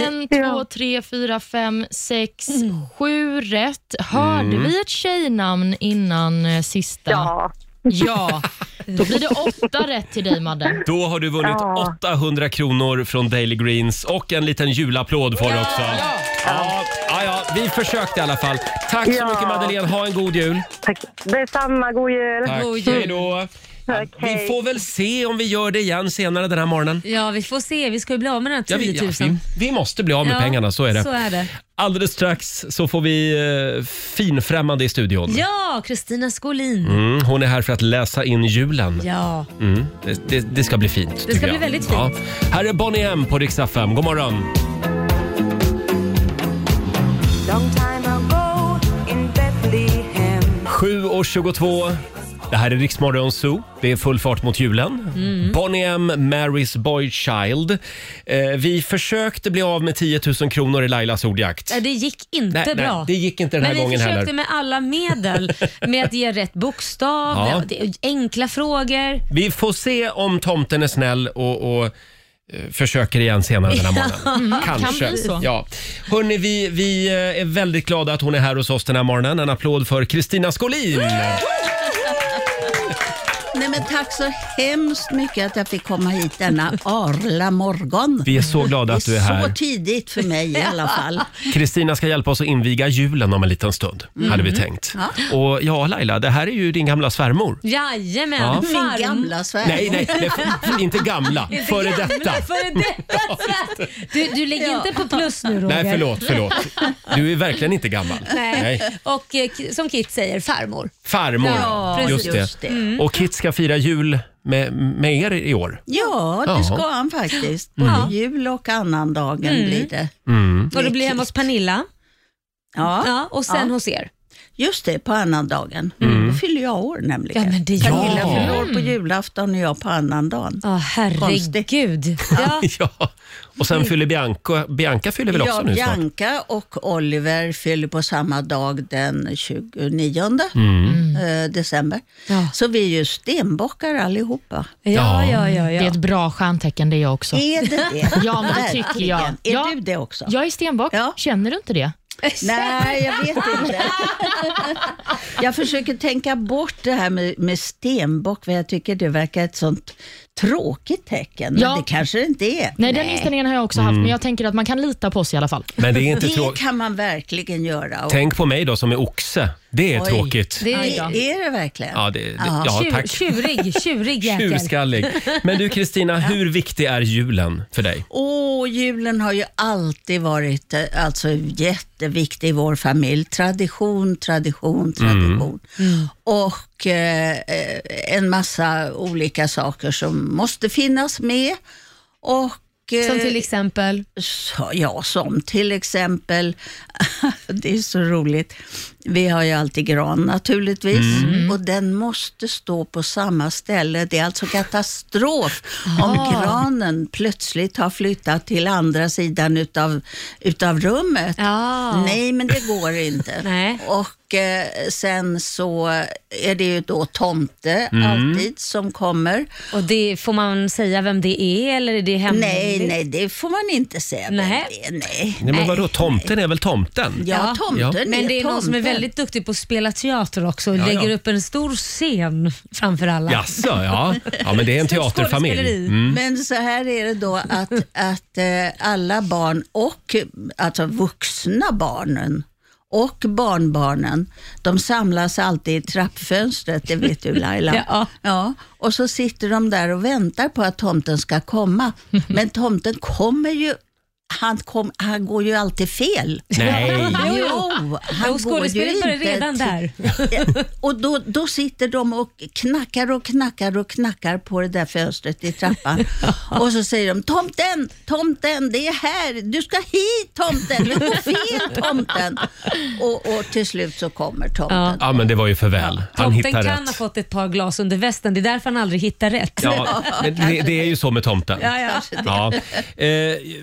S4: En, två, tre, fyra, fem, sex,
S7: Mm.
S4: sju rätt. Hörde vi ett tjejnamn innan eh, sista?
S5: Ja.
S4: Ja. Då blir det
S7: *laughs*
S4: åtta rätt till dig, Madde.
S1: Då har du vunnit
S5: Ja.
S1: 800 kronor från Daily Greens och en liten julapplåd får du också. Ja, ja, ja, vi försökte i alla fall. Tack så
S5: Ja.
S1: mycket Madeleine, ha en god jul.
S5: Tack. Detsamma. God jul.
S1: Tack.
S3: God jul.
S1: Hej då.
S5: Okej.
S1: Vi får väl se om vi gör det igen senare den här morgonen.
S3: Ja, vi får se. Vi ska ju bli av med den här
S1: Ja, vi,
S3: 10
S1: ja,
S3: 000.
S1: vi, vi måste bli av med pengarna, så är det.
S3: Så är det.
S1: Alldeles strax så får vi eh, finfrämmande i studion.
S3: Ja, Kristina Skolin.
S1: Mm, hon är här för att läsa in julen.
S3: Ja.
S1: Mm, det, det, det ska bli fint.
S3: ska
S1: tycker jag.
S3: bli väldigt fint.
S1: Här är Bonnie M på Rix FM. God morgon!
S8: Long time ago in Bethlehem
S1: 7.22. Det här är Riksmorgon Zoo. Det är full fart mot julen.
S3: Mm.
S1: Bonnie M, Mary's Boy Child. Eh, vi försökte bli av med 10 000 kronor i Lailas ordjakt.
S3: Nej, Det gick inte
S1: Nej,
S3: bra.
S1: nej, det gick inte den här
S3: Men vi
S1: gången
S3: försökte
S1: heller.
S3: med
S1: *laughs*
S3: alla medel. Med att ge rätt bokstav,
S1: Ja.
S3: med- det är enkla frågor.
S1: Vi får se om tomten är snäll och, och eh, försöker igen senare den här morgonen. Kanske.
S4: kan bli så.
S1: Ja. Hörrni, vi, vi eh, är väldigt glada att hon är här hos oss den här morgonen. En applåd för Kristina Skolin!
S7: Nej, men tack så hemskt mycket att jag fick komma hit denna arla morgon.
S1: Vi är så glada att du är här.
S7: Så tidigt för mig i
S3: *laughs*
S7: alla fall.
S1: Kristina ska hjälpa oss att inviga julen om en liten stund, hade vi tänkt. Och ja, Laila, det här är ju din gamla svärmor.
S3: Jajamän,
S1: Ja.
S3: farm.
S7: Min gamla svärmor.
S1: Nej, nej, nej f- inte gamla. Före detta.
S3: För
S1: *laughs*
S3: detta. Du, du ligger inte på plus nu Roger.
S1: Nej, förlåt, förlåt. Du är verkligen inte gammal.
S3: Nej. Och eh, k- som Kit säger, farmor.
S1: Farmor,
S7: Ja, precis.
S1: just det.
S7: Just det.
S1: Och Kit ska fira jul med, med er i år.
S7: Ja,
S1: Jaha.
S7: det ska han faktiskt. Både
S1: Mm.
S7: jul och annandagen
S3: Mm.
S7: blir det.
S3: Och det blir hemma hos Pernilla
S7: Ja,
S3: ja, och sen
S7: Ja.
S3: hos er.
S7: just det, på annandagen.
S1: Mm.
S7: Då fyller jag år nämligen.
S3: Ja, men det gör Mm.
S7: Pernilla
S1: du.
S7: fyller år på julafton och jag på annandagen.
S3: Ja, herregud. Ja.
S1: *laughs* Ja. Och sen fyller Bianca, Bianca fyller väl också
S7: Ja,
S1: nu snart?
S7: Bianca och Oliver fyller på samma dag den 29
S1: Mm.
S3: Mm.
S7: eh, december.
S3: Ja.
S7: Så vi är ju stenbockar allihopa.
S3: Ja, ja, ja,
S4: Det är
S3: ja.
S4: ett bra stjärntecken det är jag också.
S7: Är det det?
S4: *laughs* Ja, men det tycker jag.
S7: Verkligen. Är
S4: Ja.
S7: du det också?
S4: Jag är stenbock.
S7: Ja.
S4: Känner du inte det?
S7: Nej, jag vet
S4: *laughs*
S7: inte. jag försöker tänka bort det här med, med stenbock, för jag tycker det verkar ett sånt tråkigt tecken. Men
S4: Ja.
S7: det kanske det inte är.
S4: Nej, den inställningen har jag också haft, men jag tänker att man kan lita på oss i alla fall.
S1: Men det är inte
S7: Det
S1: tråkigt.
S7: kan man verkligen göra. Och,
S1: Tänk på mig då som är oxe. Det är
S7: Oj.
S1: tråkigt.
S3: Det
S7: det,
S3: är
S7: är det verkligen?
S1: Ja, det, det,
S7: Ja.
S1: ja
S3: tjur,
S1: tack.
S3: tjurig, tjurig jäkel.
S1: Tjurskallig. Men du Kristina, hur viktig är julen för dig?
S7: Åh, julen har ju alltid varit eh, alltså, jätteviktig i vår familj. Tradition, tradition, tradition.
S3: Mm.
S7: Och eh, eh, en massa olika saker som måste finnas med. Och, eh,
S3: Som till exempel?
S7: så- Ja, som till exempel, *laughs* det är så roligt, vi har ju alltid gran naturligtvis
S3: Mm.
S7: och den måste stå på samma ställe. Det är
S3: *laughs*
S7: alltså katastrof om granen plötsligt har flyttat till andra sidan utav, utav rummet.
S3: Ja.
S7: Nej, men det går inte.
S3: *laughs* Nej.
S7: Och eh, sen så är det ju då tomte alltid som kommer.
S3: Och det, får man säga vem det är eller är det hemligt?
S7: Nej, nej, det får man inte säga. vem
S3: Nej.
S7: det är. nej.
S1: Nej, men vadå, tomten är väl tomten?
S7: Ja,
S3: Ja.
S7: tomten är
S3: Men det är någon som är
S7: tomten.
S3: väldigt duktig på att spela teater också och
S1: Ja, ja.
S3: lägger upp en stor scen framför alla.
S1: Jaså, ja. ja. men det är en
S3: Stort
S1: teaterfamilj. Mm.
S3: skådespeleri.
S7: *laughs* Men så här är det då att, att eh, alla barn och alltså vuxna barnen och barnbarnen, de samlas alltid i trappfönstret, det vet du Laila.
S3: Ja.
S7: *laughs* Ja, och så sitter de där och väntar på att tomten ska komma. Men tomten kommer ju, han, kom, han går ju alltid fel.
S1: Nej.
S3: Jo, jo.
S7: han
S3: Jo,
S7: går ju
S3: skådespelet
S7: inte
S3: börjar redan
S7: till-
S3: där.
S7: Ja, och då, då sitter de och knackar och knackar och knackar på det där fönstret i trappan. Och så säger de tomten, tomten, det är här, du ska hit tomten, du går fel tomten. Och, och till slut så kommer tomten.
S1: Ja, men det var ju för väl. Han
S3: Tomten
S1: hittar
S3: kan
S1: rätt.
S3: ha fått ett par glas under västen, det är därför han aldrig hittar rätt.
S1: Ja, men det, det är ju så med tomten.
S3: ja.
S1: *laughs* Ja. Eh,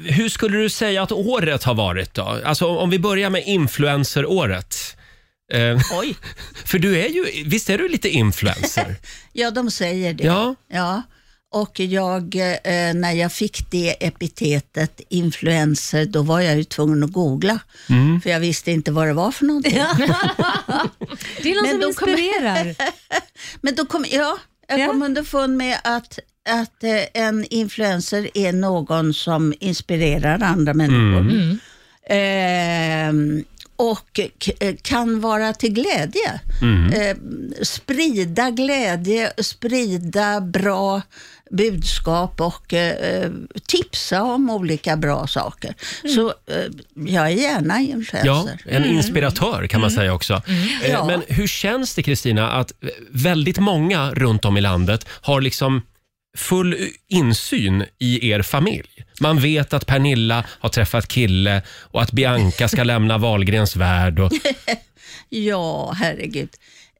S1: hur skulle du säga att året har varit då? Alltså om om vi börjar med influenceråret. Eh,
S7: Oj,
S1: *laughs* för du är ju, visst är du lite
S7: *laughs*
S1: influencer?
S7: ja de säger det.
S1: Ja.
S7: Ja. Och jag, eh, när jag fick det epitetet influencer, då var jag ju tvungen att googla.
S1: Mm.
S7: För jag visste inte vad det var för någonting.
S3: Det är någon
S7: Men
S3: som
S7: de kommer-
S3: inspirerar.
S7: Men då kom, ja, jag
S3: Ja.
S7: kom underfund med att, att eh, en influencer är någon som inspirerar andra människor. Ehm, och k- eh, kan vara till glädje. Eh, sprida glädje, sprida bra budskap och eh, eh, tipsa om olika bra saker. Så eh, jag är gärna
S1: Ja,
S7: influencer.
S1: en inspiratör kan man säga också. Eh,
S7: Mm. Ja.
S1: Men hur känns det Kristina att eh, väldigt många runt om i landet har liksom full insyn i er familj? Man vet att Pernilla har träffat kille och att Bianca
S7: *laughs*
S1: ska lämna Wahlgrens värld. Och,
S7: Ja, herregud.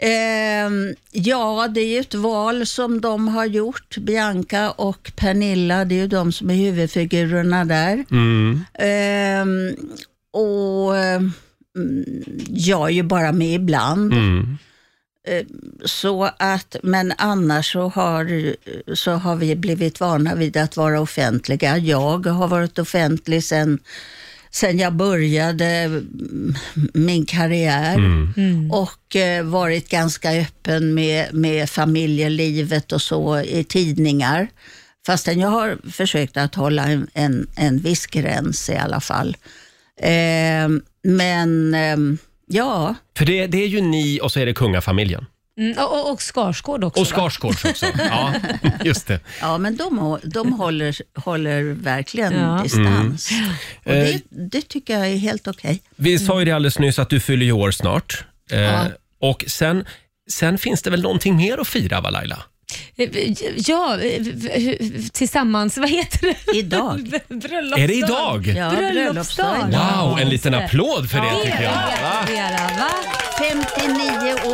S7: Ehm, ja, det är ju ett val som de har gjort, Bianca och Pernilla. Det är ju de som är huvudfigurerna där. Ehm, och ehm, Jag är ju bara med ibland.
S1: mm.
S7: Ehm, Så att, men annars så har, så har vi blivit vana vid att vara offentliga. Jag har varit offentlig sedan sen jag började mm, min karriär och eh, varit ganska öppen med, med familjelivet och så i tidningar. Fastän jag har försökt att hålla en, en, en viss gräns i alla fall. Eh, men ehm, ja,
S1: för det, det är ju ni och så är det kungafamiljen.
S3: Mm, och, och, och Skarsgård också.
S1: Och
S3: va?
S1: Skarsgårds också. Ja, *laughs* just det.
S7: ja, men de, hå- de håller, håller verkligen
S3: Ja.
S7: distans. Och
S1: Eh.
S7: det, det tycker jag är helt okej.
S1: Vi sa ju det alldeles nyss att du fyller ju år snart. Eh, Och sen, sen finns det väl någonting mer att fira va Laila?
S3: Ja, eh, hur- tillsammans, vad heter det?
S7: Idag.
S3: *laughs* Bröllopsdagen.
S1: Är det idag?
S7: Ja,
S3: Bröllopsdagen.
S1: Wow, en liten applåd för det
S3: Det
S1: tycker
S3: är
S1: jag.
S3: att gratulera, va?
S7: 59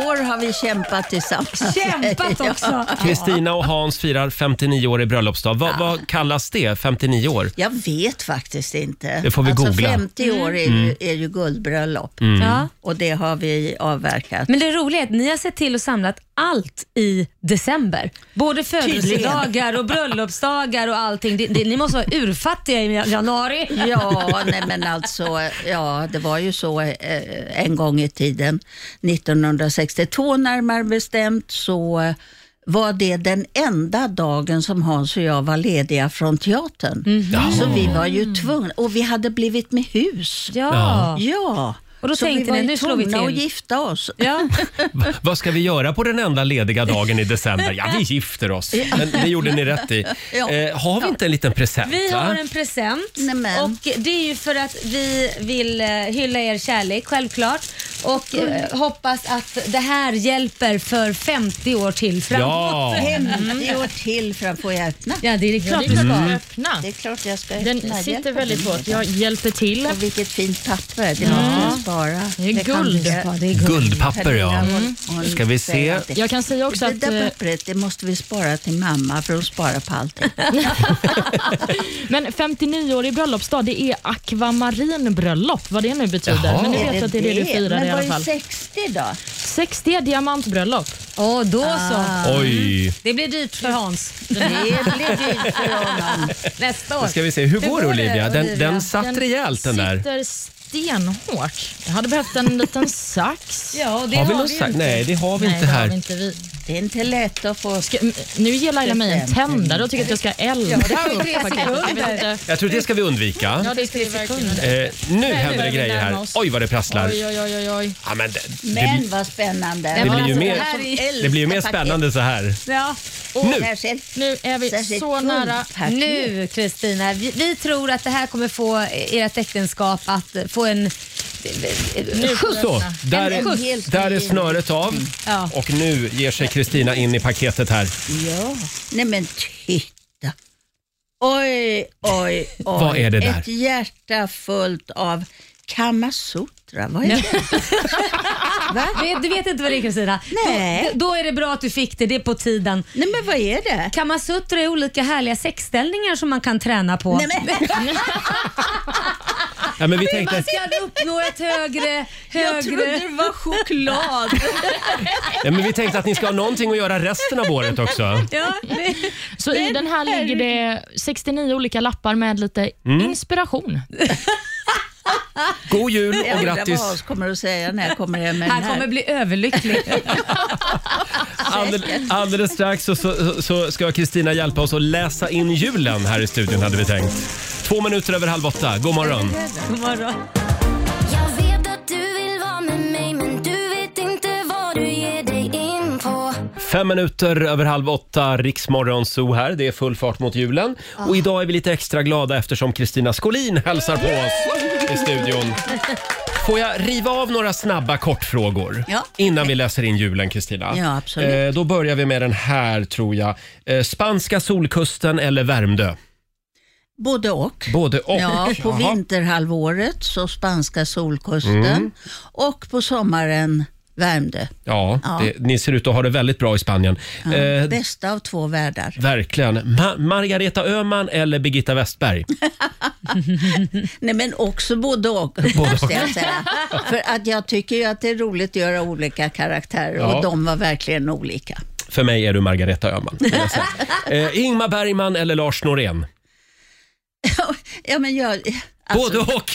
S7: år har vi kämpat tillsammans.
S3: Kämpat också.
S1: Kristina och Hans firar 59 år i bröllopsdag. Vad, vad kallas det? 59 år?
S7: *laughs* Jag vet faktiskt inte.
S1: Det får vi
S7: alltså
S1: googla. Mm.
S7: 50 år är ju, är ju guldbröllop
S3: Ja.
S7: och det har vi avverkat.
S3: Men det roliga är att ni har sett till och samlat allt i december. Både födelsedagar och bröllopsdagar och allting. Det, det, ni måste vara urfattiga i januari.
S7: Ja, nej men alltså, ja, det var ju så eh, en gång i tiden, 1962 närmare bestämt, så eh, var det den enda dagen som Hans och jag var lediga från teatern.
S3: Mhm.
S7: Så vi var ju tvungna, och vi hade blivit med hus.
S3: Ja.
S7: Ja,
S3: Och då
S7: så
S3: tänkte
S7: vi var
S3: ni,
S7: ju
S3: nu slår vi
S7: tvungna att
S3: till.
S7: gifta oss.
S3: Ja.
S1: Va- Vad ska vi göra på den enda lediga dagen i december? Ja, vi gifter oss. Men det gjorde ni rätt i.
S7: Ja.
S1: Eh, har vi inte en liten present?
S3: Vi
S1: va?
S3: har en present
S7: Nämen.
S3: och det är ju för att vi vill eh, hylla er kärlek självklart och eh,
S4: Mm.
S3: hoppas att det här hjälper för 50 år till framåt.
S1: Ja,
S7: 50 år till för att få öppna.
S3: Ja, det är
S4: Ja,
S3: klart
S4: det är klart
S3: vi ska.
S4: öppna.
S7: Det är klart jag ska öppna.
S4: Den sitter
S7: Hjälper
S4: väldigt
S7: mig
S4: hårt.
S7: då.
S4: Jag hjälper till.
S7: Och vilket fint papper. Det måste jag spara.
S4: Det är
S7: kan
S4: guld.
S7: vi-
S3: Ja, det är guld.
S1: guldpapper ja. Mm.
S7: Hon
S1: Ska vi
S7: säger
S1: se?
S3: Mm.
S7: alltid,
S4: Jag kan säga också
S7: Det
S4: att
S7: där
S4: eh,
S7: pappret det måste vi spara till mamma för hon sparar på allting.
S4: *laughs* Men 59-årig bröllopsdag, det är akvamarinbröllop, vad det nu betyder.
S1: Jaha.
S4: Men du vet att det är det du firar
S7: Men
S4: i alla fall.
S7: vad är 60 då?
S4: 60 diamantbröllop.
S3: Åh, då
S4: Ah.
S3: så.
S1: Oj.
S3: Det blir dyrt för Hans
S7: Det blir dyrt för honom.
S3: nästa år.
S1: Då ska vi se. Hur går det Olivia? Den,
S3: Olivia?
S1: den satt rejält den där.
S4: sitter stenhårt. Jag hade behövt en
S1: *laughs*
S4: liten sax.
S3: Ja, det
S1: Har vi
S3: har
S1: någon
S3: vi ju
S1: sa-
S3: inte.
S1: Nej, det har vi
S4: Nej,
S1: inte
S4: det har
S1: här.
S4: vi inte vi.
S7: Det är inte lätt att få...
S4: Ska, m- nu ger Laila mig en tändare och tycker att jag ska elda *laughs* upp
S3: tre
S4: paketet. Jag vet inte.
S1: Jag tror det ska vi undvika.
S4: Ja, det ska vi verkligen.
S1: Eh, nu händer det
S4: börjar vi
S1: grejer
S4: närma
S1: här.
S4: oss.
S1: Oj, vad det prasslar.
S4: Oj, oj, oj, oj, oj.
S1: Ja, men det,
S7: Men
S1: det,
S7: vad spännande.
S1: det blir ju
S3: alltså,
S1: mer,
S3: det här är-
S1: det blir ju mer spännande så här.
S3: Ja.
S1: Nu.
S7: Särskilt,
S4: Nu är vi
S7: särskilt
S4: så nära.
S7: guldpaket.
S3: Nu Kristina, vi, vi tror att det här kommer få ert äktenskap att få en skjuts.
S1: Så, där
S3: En
S1: är,
S3: skjuts.
S1: där är snöret av
S3: Ja.
S1: och nu ger sig Kristina in i paketet här.
S7: Ja. Nej men titta. Oj, oj, oj.
S1: Vad är det där?
S7: Ett hjärta fullt av Kamasutra. Vad är det?
S3: Du, du *laughs* vet inte vad det är Kristina?
S7: Nej.
S3: Då, då är det bra att du fick det, det är på tiden.
S7: Nej men vad är det?
S3: Kamasutra är olika härliga sexställningar som man kan träna på.
S7: Nej, men,
S1: Ja, men vi
S3: Man
S1: tänkte,
S3: ska uppnå ett högre...
S7: *laughs* jag trodde
S3: högre.
S7: det var choklad.
S1: ja, men vi tänkte att ni ska ha någonting att göra resten av året också.
S3: Ja, det,
S4: Så i den här ligger det 69 olika lappar med lite
S1: Mm.
S4: inspiration.
S1: God jul
S7: Jag
S1: och
S7: undrar vad Hans
S1: grattis!
S7: kommer att säga när jag kommer hem med den
S3: han kommer
S7: här.
S3: bli överlycklig.
S1: Alldeles, alldeles strax så, så, så ska Kristina hjälpa oss att läsa in julen här i studion hade vi tänkt. Två minuter över halv åtta, god morgon!
S3: God morgon.
S9: Jag vet att du vill
S1: Fem minuter över halv åtta, Riksmorgon Zoo här. Det är full fart mot julen. Och idag är vi lite extra glada eftersom Kristina Skolin hälsar på oss i studion. Får jag riva av några snabba kortfrågor
S7: Ja.
S1: innan vi läser in julen, Kristina?
S7: Ja, absolut.
S1: Eh, då börjar vi med den här, tror jag. Eh, Spanska solkusten eller Värmdö?
S7: Både och.
S1: Både och.
S7: Ja, på
S1: Jaha.
S7: vinterhalvåret så spanska solkusten
S1: Mm.
S7: och på sommaren Värmdö.
S1: Ja,
S7: Ja.
S1: Det, ni ser ut att ha det väldigt bra i Spanien. Eh,
S7: Bästa av två världar.
S1: verkligen. Ma- Margareta Öhman eller Birgitta Westberg?
S7: Nej, men också både och, måste jag säga. För att jag tycker ju att det är roligt att göra olika karaktärer
S1: Ja.
S7: och de var verkligen olika. *laughs*
S1: För mig är du Margareta Öhman. vill jag säga. eh, Ingmar Bergman eller Lars Norén?
S7: ja, men jag, alltså,
S1: Både och!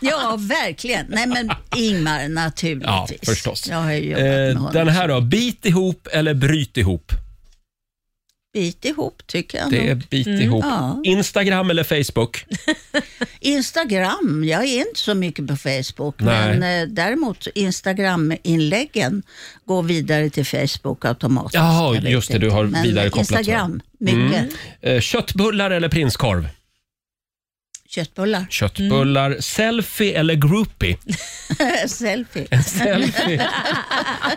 S7: ja, verkligen. Nej, men Ingmar
S1: Ja,
S7: naturligtvis.
S1: förstås.
S7: Jag har ju jobbat med
S1: Eh,
S7: honom.
S1: den här då, bit ihop eller bryt ihop?
S7: Bit ihop tycker jag
S1: Det
S7: nog.
S1: är bit ihop.
S7: Mm. ja.
S1: Instagram eller Facebook?
S7: Instagram, jag är inte så mycket på Facebook,
S1: Nej.
S7: men eh, däremot Instagram-inläggen går vidare till Facebook automatiskt.
S1: Jaha,
S7: Jag vet
S1: just det, du har
S7: men
S1: vidarekopplat
S7: Instagram, mycket.
S1: Eh, köttbullar eller prinskorv?
S7: Köttbullar, *laughs*
S1: Köttbullar.
S7: Mm.
S1: Selfie eller groupie?
S7: selfie.
S1: Selfie.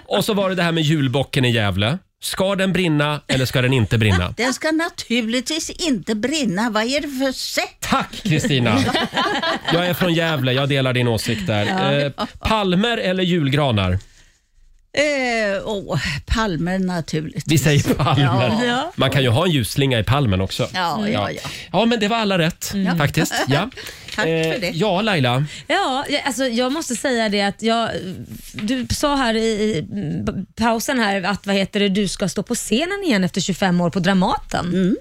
S1: Och så var det det här med julbocken i Gävle. Ska den brinna eller ska den inte brinna?
S7: Den ska naturligtvis inte brinna. Vad är det för sätt?
S1: Tack Kristina! Jag är från Gävle, jag delar din åsikt där. Eh, palmer eller julgranar?
S7: Eh, åh, palmer naturligtvis.
S1: Vi säger palmer.
S7: Ja.
S1: Man kan ju ha en ljusslinga i palmen också.
S7: Ja, ja, ja. Mm.
S1: ja men det var alla rätt faktiskt. Ja.
S7: *laughs*
S1: Eh,
S7: Tack för det.
S1: Ja, Laila.
S3: Ja, jag- alltså jag måste säga det att jag, du sa här i, i b- pausen här att vad heter det, du ska stå på scenen igen efter 25 år på Dramaten.
S7: Mm.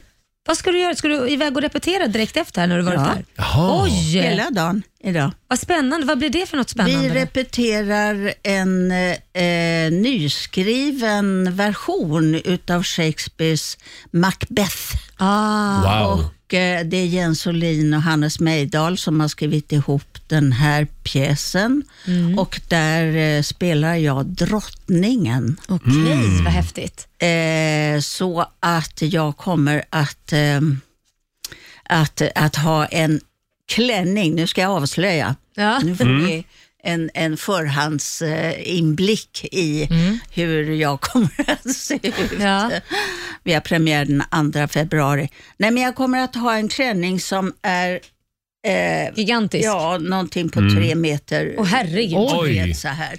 S3: Vad ska du göra? Ska du iväg och repetera direkt efter här när du varit
S7: Ja.
S3: där?
S1: Jaha.
S3: Oj!
S7: Hela dagen idag.
S3: Vad spännande. Vad blir det för något
S7: Vi
S3: spännande?
S7: repeterar en eh, eh, nyskriven version utav Shakespeares Macbeth.
S3: ah,
S1: Wow.
S7: Och eh, det är Jens Olin och Hannes Mejdal som har skrivit ihop den här pjäsen.
S3: Mm.
S7: Och där eh, spelar jag drottningen.
S3: Okej, vad häftigt.
S7: Eh, så att jag kommer att, eh, att, att ha en klänning, nu ska jag avslöja,
S3: Ja.
S7: nu får vi en, en förhandsinblick i
S3: Mm.
S7: hur jag kommer *laughs* att se ut.
S3: Ja.
S7: Vi har premiär den 2 februari. Nej, men jag kommer att ha en klänning som är eh,
S3: Gigantiskt.
S7: ja, någonting på tre meter
S3: Åh, herregud.
S1: Oj.
S7: bred så här.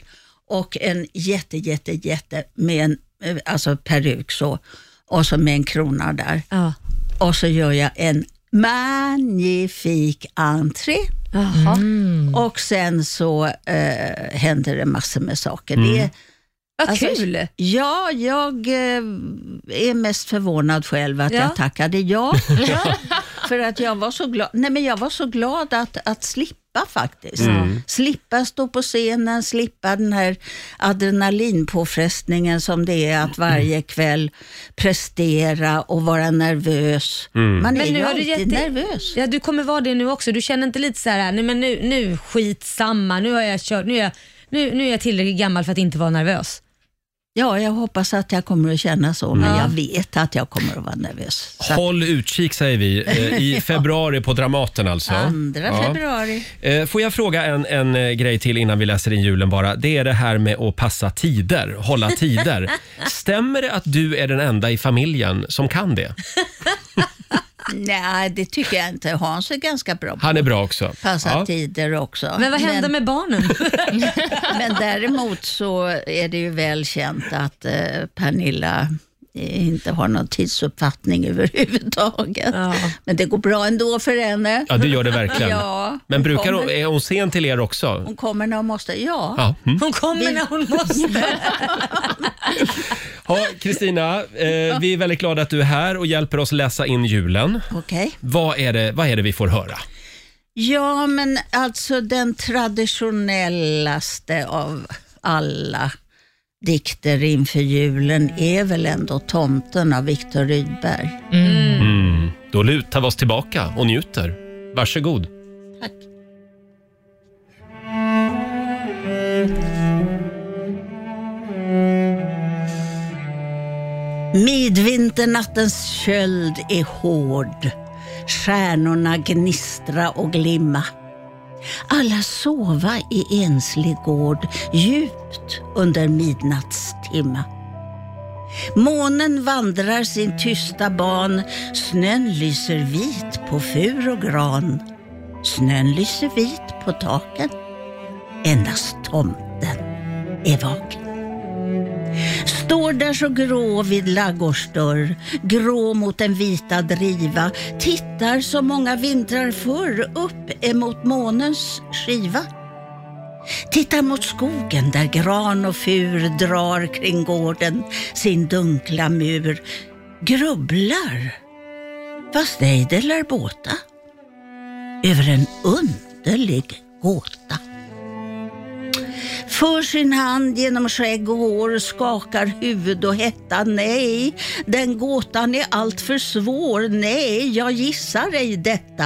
S7: Och en jätte, jätte, jätte med en eh, alltså peruk så. Och så med en krona där.
S3: Ja.
S7: Och så gör jag en magnifik entré.
S3: Jaha.
S7: Och sen så eh, händer det massor med saker. Det,
S3: Vad
S7: Alltså,
S3: kul.
S7: ja, jag eh, är mest förvånad själv att
S3: Ja.
S7: jag tackade
S3: *laughs*
S7: ja. *laughs* För att jag var så glad, nej, men jag var så glad att, att slippa faktiskt.
S1: Mm.
S7: Slippa stå på scenen, slippa den här adrenalinpåfrestningen som det är att varje
S3: Mm.
S7: kväll prestera och vara nervös.
S1: Mm.
S7: Man är
S3: Men nu
S7: ju
S3: har du
S7: alltid
S3: gett dig-
S7: nervös.
S3: Ja, du kommer vara det nu också. Du känner inte lite så här, nu, men nu, nu skitsamma, nu har jag kört, nu är jag, nu, nu är jag tillräckligt gammal för att inte vara nervös.
S7: Ja, jag hoppas att jag kommer att känna så, men
S3: Ja.
S7: jag vet att jag kommer att vara nervös. Så att
S1: Håll utkik säger vi eh,
S7: *laughs*
S1: i februari på Dramaten alltså.
S7: Andra
S1: Ja.
S7: februari.
S1: Eh, Får jag fråga en, en eh, grej till innan vi läser in julen bara. Det är det här med att passa tider, hålla
S7: *laughs*
S1: tider. Stämmer det att du är den enda i familjen som kan det?
S7: Nej, det tycker jag inte. Hans är ganska bra på
S1: Han är bra också.
S7: passa
S1: Ja.
S7: tider också.
S3: Men vad händer med barnen?
S7: men däremot så är det ju väl känt att eh, Pernilla eh, inte har någon tidsuppfattning överhuvudtaget.
S3: Ja.
S7: Men det går bra ändå för henne.
S1: Ja, det gör det verkligen.
S7: Ja,
S1: Men brukar
S7: kommer, Mm.
S1: hon, är hon sen till er också?
S7: hon kommer när hon måste. Ja.
S1: Ja. Mm.
S3: Hon kommer när hon måste.
S1: Ja, Kristina, eh, vi är väldigt glada att du är här och hjälper oss läsa in julen.
S7: Okej.
S1: Vad är det, vad är det vi får höra?
S7: Ja, men alltså den traditionellaste av alla dikter inför julen är väl ändå Tomten av Viktor Rydberg.
S1: Då lutar vi oss tillbaka och njuter. Varsågod.
S7: Midvinternattens köld är hård. Stjärnorna gnistra och glimma. Alla sova i enslig gård djupt under midnattstimma. Månen vandrar sin tysta ban, snön lyser vit på fur och gran. Snön lyser vit på taken, endast tomten är vaken. Står där så grå vid laggårdsdörr, grå mot den vita driva, tittar som många vintrar förr upp emot månens skiva. Tittar mot skogen där gran och fur drar kring gården sin dunkla mur, grubblar, fast ej det lär båta, över en underlig gåta. För sin hand genom skägg och hår skakar huvud och hetta. Nej, den gåtan är allt för svår. Nej, jag gissar ej detta.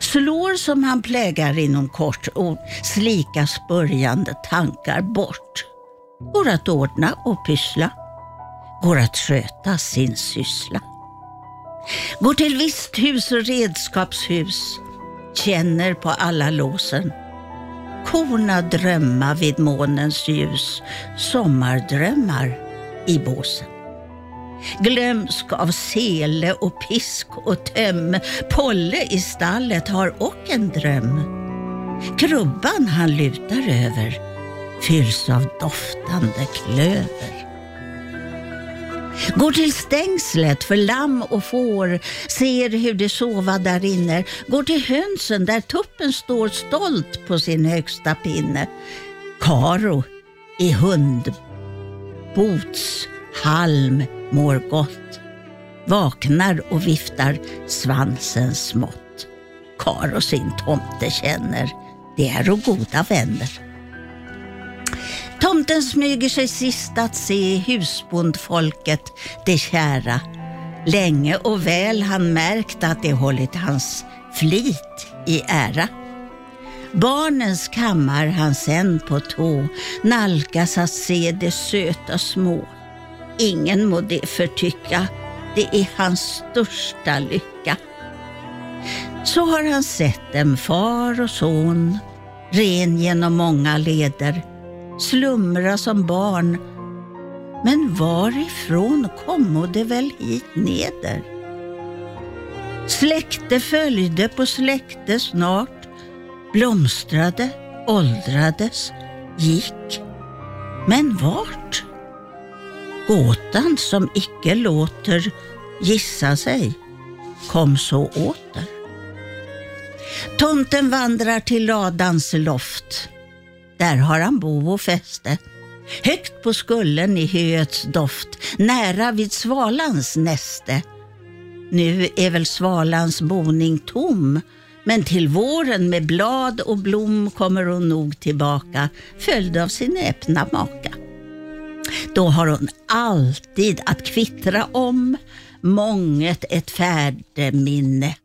S7: Slår som han plägar inom kort och slikas börjande tankar bort. Går att ordna och pyssla. Går att sköta sin syssla. Går till visthus och redskapshus. Känner på alla låsen. Korna drömma vid månens ljus, sommardrömmar i båsen. Glömsk av sele och pisk och töm, Polle i stallet har och en dröm. Krubban han lutar över fylls av doftande klöver. Går till stängslet för lamm och får, ser hur de sova där inne. Går till hönsen där tuppen står stolt på sin högsta pinne. Karo i hund, bots, halm mår gott. Vaknar och viftar svansen smått. Karo sin tomte känner, det är och goda vänner. Tomten smyger sig sist att se husbondfolket, det kära. Länge och väl han märkt att det hållit hans flit i ära. Barnens kammar han sen på tå nalkas att se de söta små. Ingen må det förtycka, det är hans största lycka. Så har han sett dem, far och son, ren genom många leder, slumra som barn. Men varifrån kommo det väl hit neder? Släkte följde på släkte snart, blomstrade, åldrades, gick. Men vart? Gåtan som icke låter gissa sig kom så åter. Tomten vandrar till ladans loft. Där har han bo och fäste. Högt på skullen i höets doft, nära vid svalans näste. Nu är väl svalans boning tom, men till våren med blad och blom kommer hon nog tillbaka, följd av sin öppna maka. Då har hon alltid att kvittra om, månget ett färdeminne.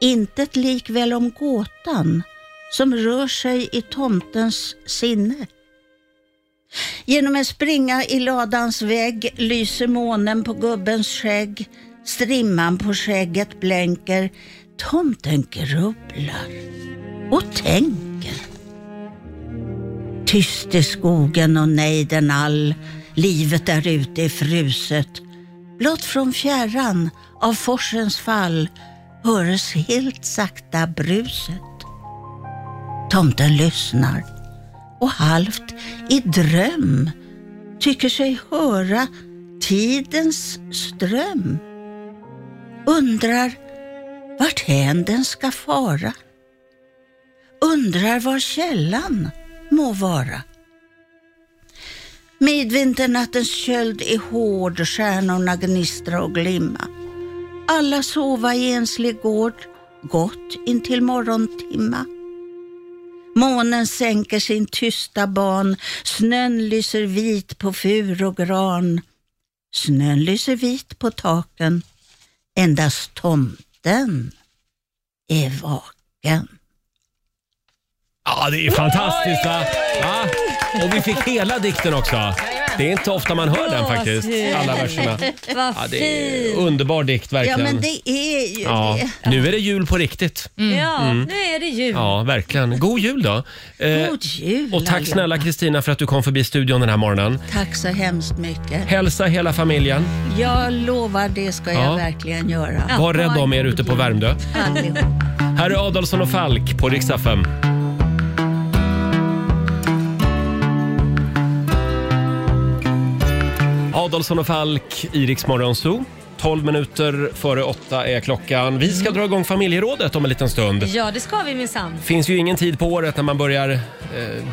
S7: Intet likväl om gåtan som rör sig i tomtens sinne. Genom en springa i ladans vägg lyser månen på gubbens skägg, strimman på skägget blänker, tomten grubblar och tänker. Tyst i skogen och nejden all, livet där ute är fruset. Blott från fjärran av forsens fall hörs helt sakta bruset. Tomten lyssnar och halvt i dröm tycker sig höra tidens ström. Undrar vart hän den ska fara. Undrar var källan må vara. Midvinternattens köld är hård, stjärnorna gnistra och glimma. Alla sova i enslig gård, gott intill morgontimma. Månen sänker sin tysta ban, snön lyser vit på fur och gran. Snön lyser vit på taken, endast tomten är vaken.
S1: Ja, det är fantastiskt va? Ja. Och vi fick hela dikten också. Det är inte ofta man hör den faktiskt,
S3: Gåshud.
S1: alla verserna.
S3: Vad
S1: Ja, det är
S3: fint.
S1: underbar dikt
S7: Ja,
S1: verkligen.
S7: men det är ju
S1: Ja,
S7: det. Mm.
S1: nu är det jul på riktigt.
S3: Ja, nu är det jul.
S1: Mm. Ja, verkligen. God jul då. Eh,
S7: God jul,
S1: och tack
S7: allihopa.
S1: snälla Kristina för att du kom förbi studion den här morgonen.
S7: Tack så hemskt mycket.
S1: Hälsa hela familjen.
S7: Jag lovar, det ska
S1: Ja.
S7: jag verkligen göra.
S1: Var rädd om er ute på Värmdö.
S7: Allihop.
S1: Här är Adolfsson och Falk på riksdag 5. Adolfsson och Falk i Rix Morgon Zoo. 12 minuter före åtta är klockan. Vi ska dra igång familjerådet om en liten stund.
S3: Ja, det ska vi minsann.
S1: finns ju ingen tid på året när man börjar eh,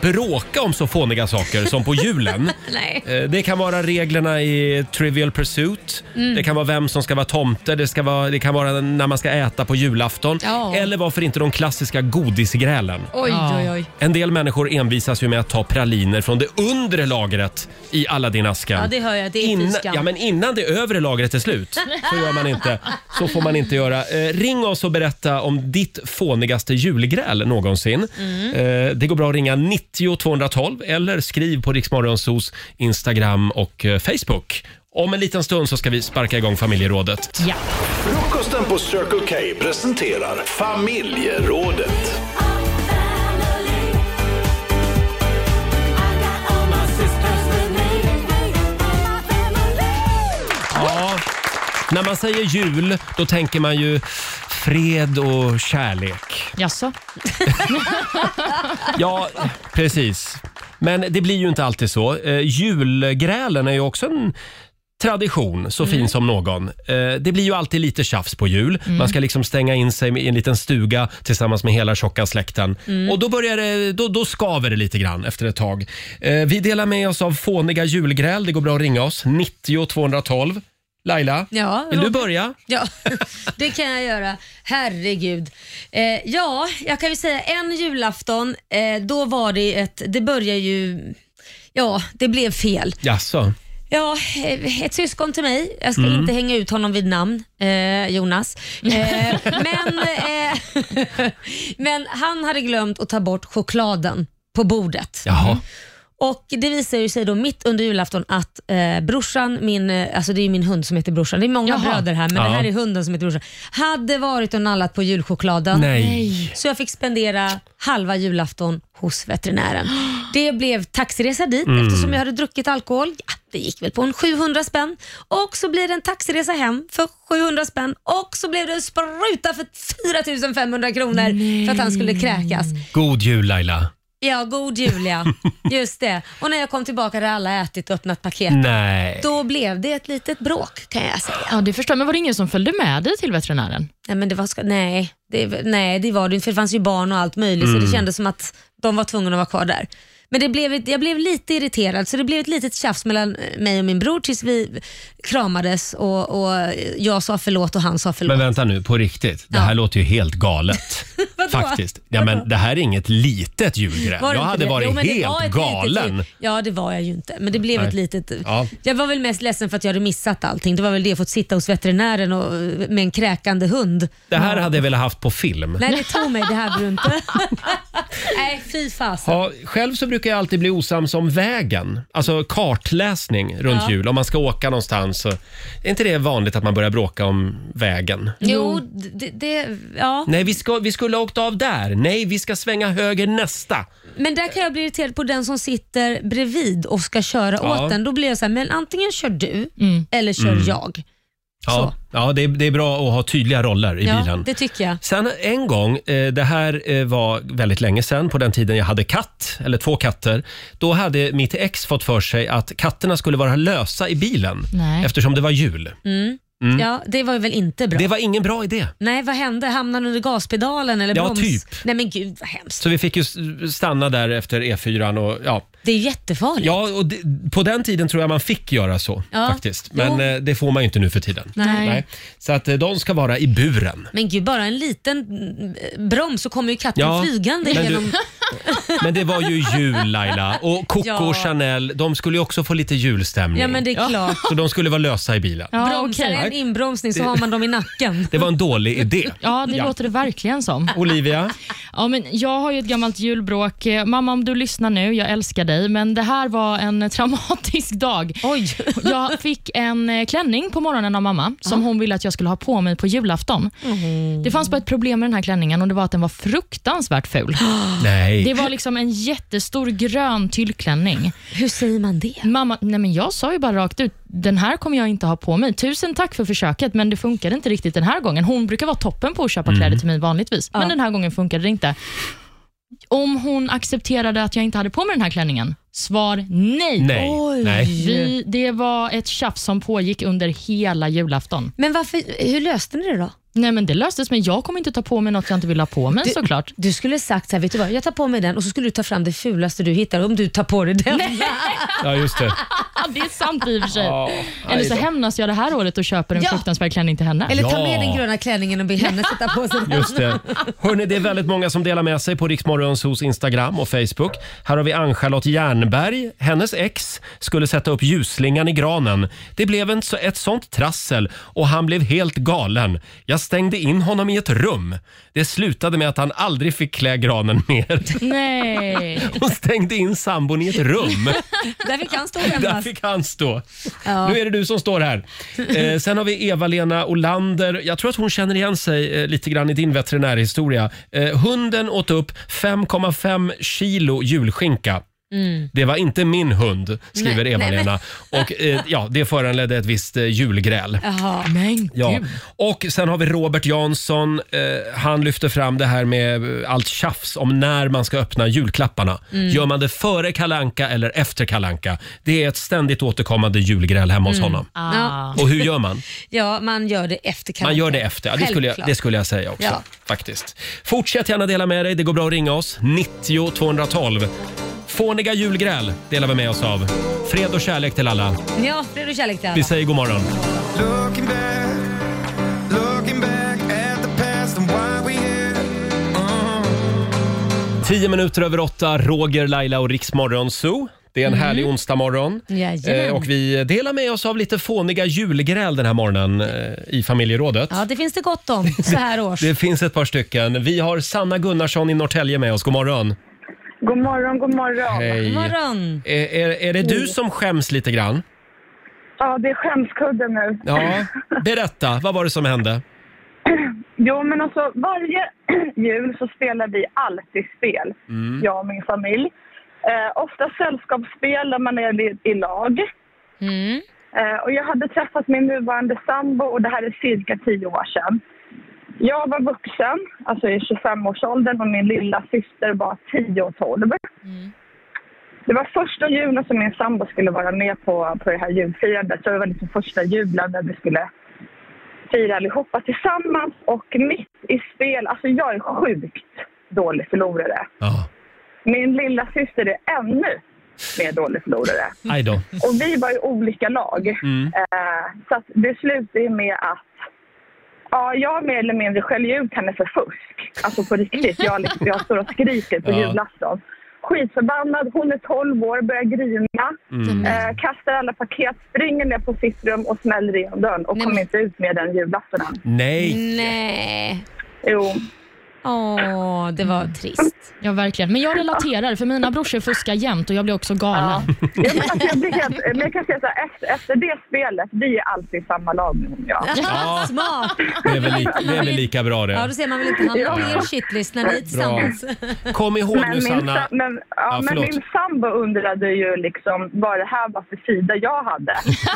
S1: bråka om så fåniga saker som på julen.
S3: *laughs* Nej.
S1: Eh, det kan vara reglerna i Trivial Pursuit,
S3: Mm.
S1: det kan vara vem som ska vara tomte, det, ska vara, det kan vara när man ska äta på julafton.
S3: Ja.
S1: Eller varför inte de klassiska godisgrälen.
S3: Oj,
S4: Ja.
S3: oj, oj.
S1: En del människor envisas ju med att ta praliner från det undre lagret i Aladdin-asken.
S3: Ja, det hör jag. Det är
S1: Innan,
S3: fy skam.
S1: ja, men innan det övre lagret är slut, så gör man inte. Så får man inte göra. Eh, ring oss och berätta om ditt fånigaste julgräl någonsin.
S3: Mm.
S1: Eh, det går bra att ringa 90 212 eller skriv på Riksmorgonsos Instagram och eh, Facebook. Om en liten stund så ska vi sparka igång familjerådet.
S4: Ja.
S2: Frukosten på Circle K presenterar familjerådet.
S1: Ja. När man säger jul, då tänker man ju fred och kärlek.
S4: Jaså?
S1: Ja, precis. Men det blir ju inte alltid så. Eh, julgrälen är ju också en tradition, så fin som någon. Eh, det blir ju alltid lite tjafs på jul. Man ska liksom stänga in sig i en liten stuga tillsammans med hela tjocka släkten. Och då, börjar det, då, då skaver det lite grann efter ett tag. Eh, vi delar med oss av fåniga julgräl. Det går bra att ringa oss. 90 212. Laila,
S3: Ja,
S1: vill du
S3: Roger.
S1: börja?
S3: Ja, *laughs* det kan jag göra. Herregud. Eh, ja, jag kan ju säga en julafton, eh, då var det ett, det började ju, ja det blev fel.
S1: Jaså?
S3: Ja, eh, ett syskon till mig, jag ska inte hänga ut honom vid namn, eh, Jonas. Eh, men, eh, *laughs* men han hade glömt att ta bort chokladen på bordet.
S1: Jaha.
S3: Och Det visar ju sig då mitt under julafton att eh, brorsan, min, eh, alltså det är ju min hund som heter brorsan, det är många
S4: Jaha.
S3: bröder här men
S1: Ja.
S3: det här är hunden som heter brorsan, hade varit och nallat på julchokladen.
S1: Nej.
S3: Så jag fick spendera halva julafton hos veterinären. *gasps* Det blev taxiresa dit
S1: Mm.
S3: eftersom jag hade druckit alkohol. Ja, det gick väl på en 700 spänn. Och så blir det en taxiresa hem för 700 spänn och så blev det en spruta för 4500 kronor för att han skulle kräkas.
S1: God jul Laila.
S3: Ja,
S1: *laughs*
S3: god Julia. Just det. Och när jag kom tillbaka hade alla ätit och öppnat paket.
S1: Mm. Nej.
S3: Då blev det ett litet bråk kan jag säga.
S4: Ja, det förstår jag. Men var det ingen som följde med dig till veterinären?
S3: Nej, men det var, ska- nej, det, nej, det var det inte för det fanns ju barn och allt möjligt
S1: Mm.
S3: så det kändes som att de var tvungna att vara kvar där. Men det blev, ett- jag blev lite irriterad så det blev ett litet tjafs mellan eh, mig och min bror tills vi kramades och, och jag sa förlåt och han sa förlåt.
S1: Men vänta nu, på riktigt. Det här
S3: Ja.
S1: låter ju helt
S3: *laughs*
S1: galet. Faktiskt. Ja, men det här är inget litet julgräl.
S3: Var det
S1: Jag
S3: inte
S1: hade
S3: det?
S1: varit
S3: Jo, men det var
S1: helt
S3: ett litet
S1: galen.
S3: liv. Ja, det var jag ju inte. Men det blev
S1: Nej.
S3: ett litet...
S1: Ja.
S3: Jag var väl mest ledsen för att jag hade missat allting. Det var väl det, fått sitta hos veterinären och, med en kräkande hund.
S1: Det här hade jag velat haft på film.
S3: Nej, det tog mig. Det här blir inte. *laughs* Nej, fy fasen.
S1: Ja, själv så brukar jag alltid bli osams om vägen, alltså kartläsning runt jul. Om man ska åka någonstans. Så är inte det vanligt att man börjar bråka om vägen?
S3: Jo, det, det, ja.
S1: Nej, vi, ska, vi skulle ha åkt av där. Nej, vi ska svänga höger nästa.
S3: Men där kan jag bli irriterad på den som sitter bredvid och ska köra
S1: Ja. Mm.
S3: åt den. Då blir jag så här, men antingen kör du eller kör jag.
S1: Ja, ja det, är, det är bra att ha tydliga roller i
S3: Ja,
S1: bilen.
S3: det tycker jag.
S1: Sen en gång, eh, det här eh, var väldigt länge sedan, på den tiden jag hade katt, eller två katter. Då hade mitt ex fått för sig att katterna skulle vara lösa i bilen
S4: Nej.
S1: eftersom det var jul. Mm.
S3: Ja, det var ju väl inte bra.
S1: Det var ingen bra idé.
S3: Nej, vad hände? Hamnade han under gaspedalen eller
S1: Ja,
S3: broms?
S1: typ.
S3: Nej men gud vad hemskt.
S1: Så vi fick ju s- stanna där efter E4 och ja.
S3: Det är jättefarligt.
S1: ja och det, på den tiden tror jag man fick göra så
S3: Ja.
S1: faktiskt. Men
S3: Jo.
S1: eh, det får man ju inte nu för tiden.
S4: Nej.
S1: Så att eh, de ska vara i buren.
S3: Men gud, bara en liten eh, broms så kommer ju katten
S1: Ja,
S3: flygande
S1: men du-
S3: genom...
S1: *laughs* Men det var ju jul Laila och Coco
S3: Ja.
S1: och Chanel, de skulle ju också få lite julstämning.
S3: Ja men det är klart.
S1: Så de skulle vara lösa i bilen.
S4: Ja,
S3: Bromsar
S4: okej.
S1: *laughs*
S3: en inbromsning så har man dem i nacken.
S1: Det var en dålig idé.
S4: Ja, det låter det verkligen som.
S1: Olivia?
S4: Ja, men jag har ju ett gammalt julbråk. Eh, Mamma, om du lyssnar nu, jag älskar dig, men det här var en *laughs* traumatisk dag.
S3: Oj.
S4: *laughs* Jag fick en eh, klänning på morgonen av mamma som hon ville att jag skulle ha på mig på julafton. Det fanns bara ett problem med den här klänningen och det var att den var fruktansvärt ful.
S1: Nej.
S4: Det var liksom en jättestor grön tyllklänning.
S3: Hur säger man det?
S4: Mamma, nej men jag sa ju bara rakt ut, den här kommer jag inte ha på mig. Tusen tack för försöket, men det funkade inte riktigt den här gången. Hon brukar vara toppen på att köpa
S1: Mm.
S4: kläder till mig vanligtvis, men den här gången funkade det inte. Om hon accepterade att jag inte hade på mig den här klänningen? Svar nej.
S1: Nej.
S3: Oj.
S1: Nej.
S4: Vi, det var ett tjafs som pågick under hela julafton.
S3: Men varför, hur löste ni det då?
S4: Nej men Det löstes, men jag kommer inte ta på mig något jag inte vill ha på mig såklart.
S3: Du skulle sagt så här, vet du vad, jag tar på mig den och så skulle du ta fram det fulaste du hittar om du tar på dig den.
S1: Ja, just det.
S4: Ja, det är sant i och för sig.
S1: Ja,
S4: Eller så
S1: aj då.
S4: hämnas jag det här året och köper en
S3: Ja.
S4: fruktansvärd klänning till henne.
S3: *laughs* Eller ta
S1: Ja.
S3: med den gröna klänningen och
S1: *laughs*
S3: be henne sätta på sig den.
S1: Just det. Hörrni, det är väldigt många som delar med sig på Riksmorgons hos Instagram och Facebook. Här har vi Ann-Charlotte Jernberg. Hennes ex skulle sätta upp ljusslingan i granen. Det blev en, ett sånt trassel och han blev helt galen. Jag stängde in honom i ett rum. Det slutade med att han aldrig fick klä granen mer.
S4: Nej.
S1: Hon stängde in sambon i ett rum.
S3: Där fick han stå
S1: Där
S3: hemma.
S1: fick han stå. Nu är det du som står här. Eh, sen har vi Eva-Lena Olander. Jag tror att hon känner igen sig eh, lite grann i din veterinärhistoria. Eh, hunden åt upp 5,5 kilo julskinka. Det var inte min hund, skriver
S3: Mm. Nej,
S1: Eva-Lena. Och eh, ja, det föranledde ett visst eh, julgräl.
S3: Jaha.
S4: Men
S1: Ja.
S4: gud.
S1: Och sen har vi Robert Jansson. Eh, han lyfter fram det här med eh, allt tjafs om när man ska öppna julklapparna. Gör man det före kalanka eller efter kalanka? Det är ett ständigt återkommande julgräl hemma hos honom.
S4: Ah.
S1: Och hur gör man?
S3: Ja, man gör det efter kanske.
S1: Man gör det efter. Ja, det, skulle jag, det skulle jag säga också.
S3: Ja.
S1: Faktiskt. Fortsätt gärna dela med dig. Det går bra att ringa oss. 90 212. Fåniga julgräl delar vi med oss av. Fred och kärlek till alla.
S3: Ja, fred och kärlek till alla.
S1: Vi säger god morgon.
S6: Looking back, looking back at the past and why we here. Uh-huh.
S1: 10 minuter över åtta, Roger, Laila och Riksmorgon Zoo. Det är en härlig onsdagmorgon.
S3: Mm. Jajamän.
S1: Eh, och vi delar med oss av lite fåniga julgräl den här morgonen eh, i familjerådet.
S3: Ja, det finns det gott om
S1: *laughs*
S3: så här års.
S1: Det finns ett par stycken. Vi har Sanna Gunnarsson i Norrtälje med oss. God morgon.
S5: God morgon, god morgon.
S1: Hej.
S3: God morgon.
S1: Är, är, är det du som skäms lite grann?
S5: Ja, det är skämskudden nu.
S3: *laughs*
S1: Ja. Berätta, vad var det som hände?
S5: Jo, men alltså varje *clears throat* jul så spelar vi alltid spel,
S3: Mm.
S5: jag och min familj. Eh, ofta sällskapsspel där man är i, i lag.
S3: Mm.
S5: Eh, och jag hade träffat min nuvarande sambo och det här är cirka tio år sedan. Jag var vuxen, alltså i 25-årsåldern och min lilla syster var 10 och 12. Det var första julen som min sambo skulle vara med på, på det här julfirandet. Så det var liksom första julen när vi skulle fira allihopa tillsammans. Och mitt i spel, alltså jag är sjukt dålig förlorare.
S1: Ja.
S5: Min lilla syster är ännu mer dålig förlorare.
S1: Aj då. Mm.
S5: Och vi var ju olika lag. Eh, så att det slutade ju med att ja, jag mer eller mindre skäller ut henne för fusk. Alltså på riktigt. Jag, liksom, jag står och skriker på
S1: Ja.
S5: julafton. Skitförbannad. Hon är 12 år, börjar grina. Eh, kastar alla paket, springer ner på sitt rum och smäller igen dörren och
S3: Nej,
S5: kommer
S3: men-
S5: inte ut med den julaftonen.
S1: Nej.
S3: Nej.
S5: Jo.
S3: Åh, det
S1: Mm.
S3: var trist.
S4: Ja, verkligen. Men jag relaterar, för mina brorsor fuskar jämt och jag blir också galen.
S5: Jag, men alltså, jag, blir helt, men jag kan säga så här, efter, efter det spelet, vi är alltid i samma lag nu och jag.
S1: *laughs* Ja.
S3: Smart.
S1: Det är väl, li- det är väl lika bra det.
S3: Ja, då ser man väl inte hamna på er shitlist när ni är
S1: *laughs*
S3: tillsammans.
S1: Kom ihåg
S5: Men
S1: nu
S5: min,
S1: Sanna.
S5: sa- men, ja,
S1: Ja,
S5: men
S1: förlåt.
S5: min sambo undrade ju liksom vad det här var för sida jag
S3: *laughs*
S5: hade.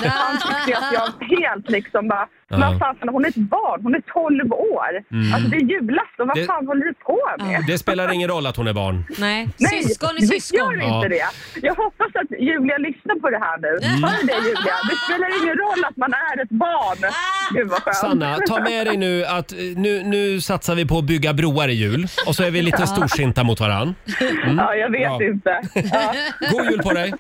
S5: Han tyckte att jag helt liksom bara,
S1: Ja. Mm.
S5: vad fan, hon är ett barn, hon är 12 år. Alltså det är julafton, vad
S1: Det-
S5: fan håller du på med?
S1: Det spelar ingen roll att hon är barn.
S3: Nej, syskon är
S5: visst gör
S3: syskon.
S5: det
S1: Ja.
S5: inte det? Jag hoppas att Julia lyssnar på det här nu.
S3: Mm.
S5: Hör du det Julia? Det spelar ingen roll att man är ett barn.
S3: Ah.
S5: Gud vad skönt.
S1: Sanna, ta med dig nu att eh, nu, nu satsar vi på att bygga broar i jul och så är vi lite storsinta mot varann.
S5: Ja, jag vet
S1: mm. Ja.
S5: inte.
S3: *laughs*
S5: Ja.
S1: God jul på dig!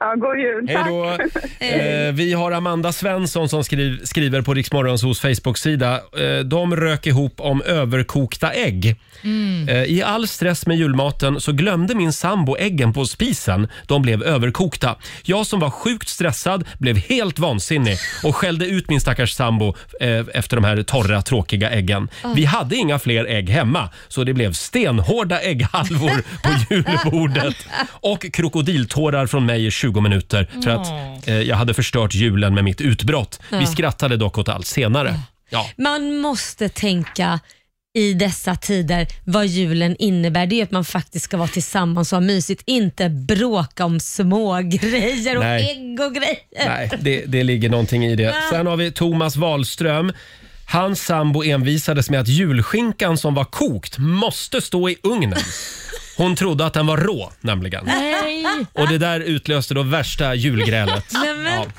S5: Ja, god jul.
S1: Hej
S5: Tack.
S1: då! Eh, vi har Amanda Svensson som skriv, skriver på Riksmorgons hos Facebook-sida. Eh, de rök ihop om överkokta ägg. Eh, I all stress med julmaten så glömde min sambo äggen på spisen. De blev överkokta. Jag som var sjukt stressad blev helt vansinnig och skällde ut min stackars sambo sambo eh, efter de här torra, tråkiga äggen. Vi hade inga fler ägg hemma, så det blev stenhårda ägghalvor på julbordet. Och krokodiltårar från mig i 20 minuter för att eh, jag hade förstört julen med mitt utbrott. Vi skrattade dock åt allt senare. Ja.
S3: Man måste tänka i dessa tider vad julen innebär. Det är ju att man faktiskt ska vara tillsammans och ha mysigt. Inte bråka om små grejer och
S1: Nej.
S3: ägg och grejer.
S1: Nej, det, det ligger någonting i det. Sen har vi Thomas Wahlström. Hans sambo envisades med att julskinkan som var kokt måste stå i ugnen. Hon trodde att den var rå nämligen.
S4: Nej.
S1: Och det där utlöste då värsta julgrälet.
S3: Nej, men-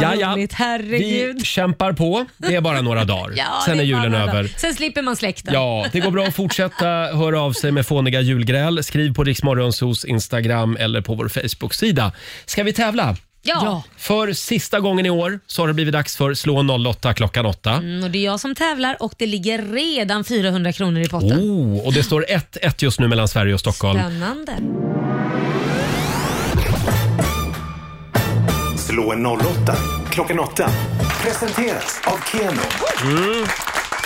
S1: Ja, ja.
S3: roligt. Herregud.
S1: Vi kämpar på. Det är bara några dagar.
S3: Ja,
S1: Sen
S3: det
S1: är julen
S3: bara-
S1: över.
S3: Sen slipper man släkten.
S1: Ja, det går bra att fortsätta höra av sig med fåniga julgräl. Skriv på Riksmorgonsos Instagram eller på vår Facebook-sida. Ska vi tävla?
S3: Ja.
S1: För sista gången i år så har det blivit dags för Slå 08 klockan 8.
S3: Mm, och det är jag som tävlar och det ligger redan 400 kronor i potten.
S1: Oh, och det står 1-1 just nu mellan Sverige och Stockholm.
S3: Spännande. Mm,
S2: Slå en 08 klockan 8. Presenteras av Keno.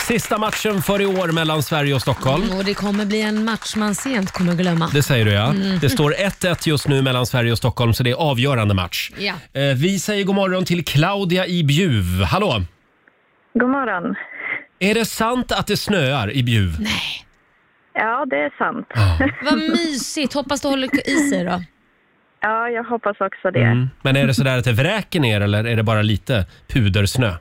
S1: Sista matchen för i år mellan Sverige och Stockholm.
S3: Och det kommer bli en match man sent kommer glömma.
S1: Det säger du ja.
S3: Mm.
S1: Det står 1-1 just nu mellan Sverige och Stockholm så det är avgörande match.
S3: Ja.
S1: Eh, Vi säger god morgon till Claudia i Bjuv. Hallå!
S5: God morgon.
S1: Är det sant att det snöar i Bjuv? Nej.
S5: Ja, det är sant.
S3: Vad mysigt. Hoppas du håller i sig då.
S5: Ja, jag hoppas också det.
S1: Mm. Men är det sådär att det vräker ner eller är det bara lite pudersnö?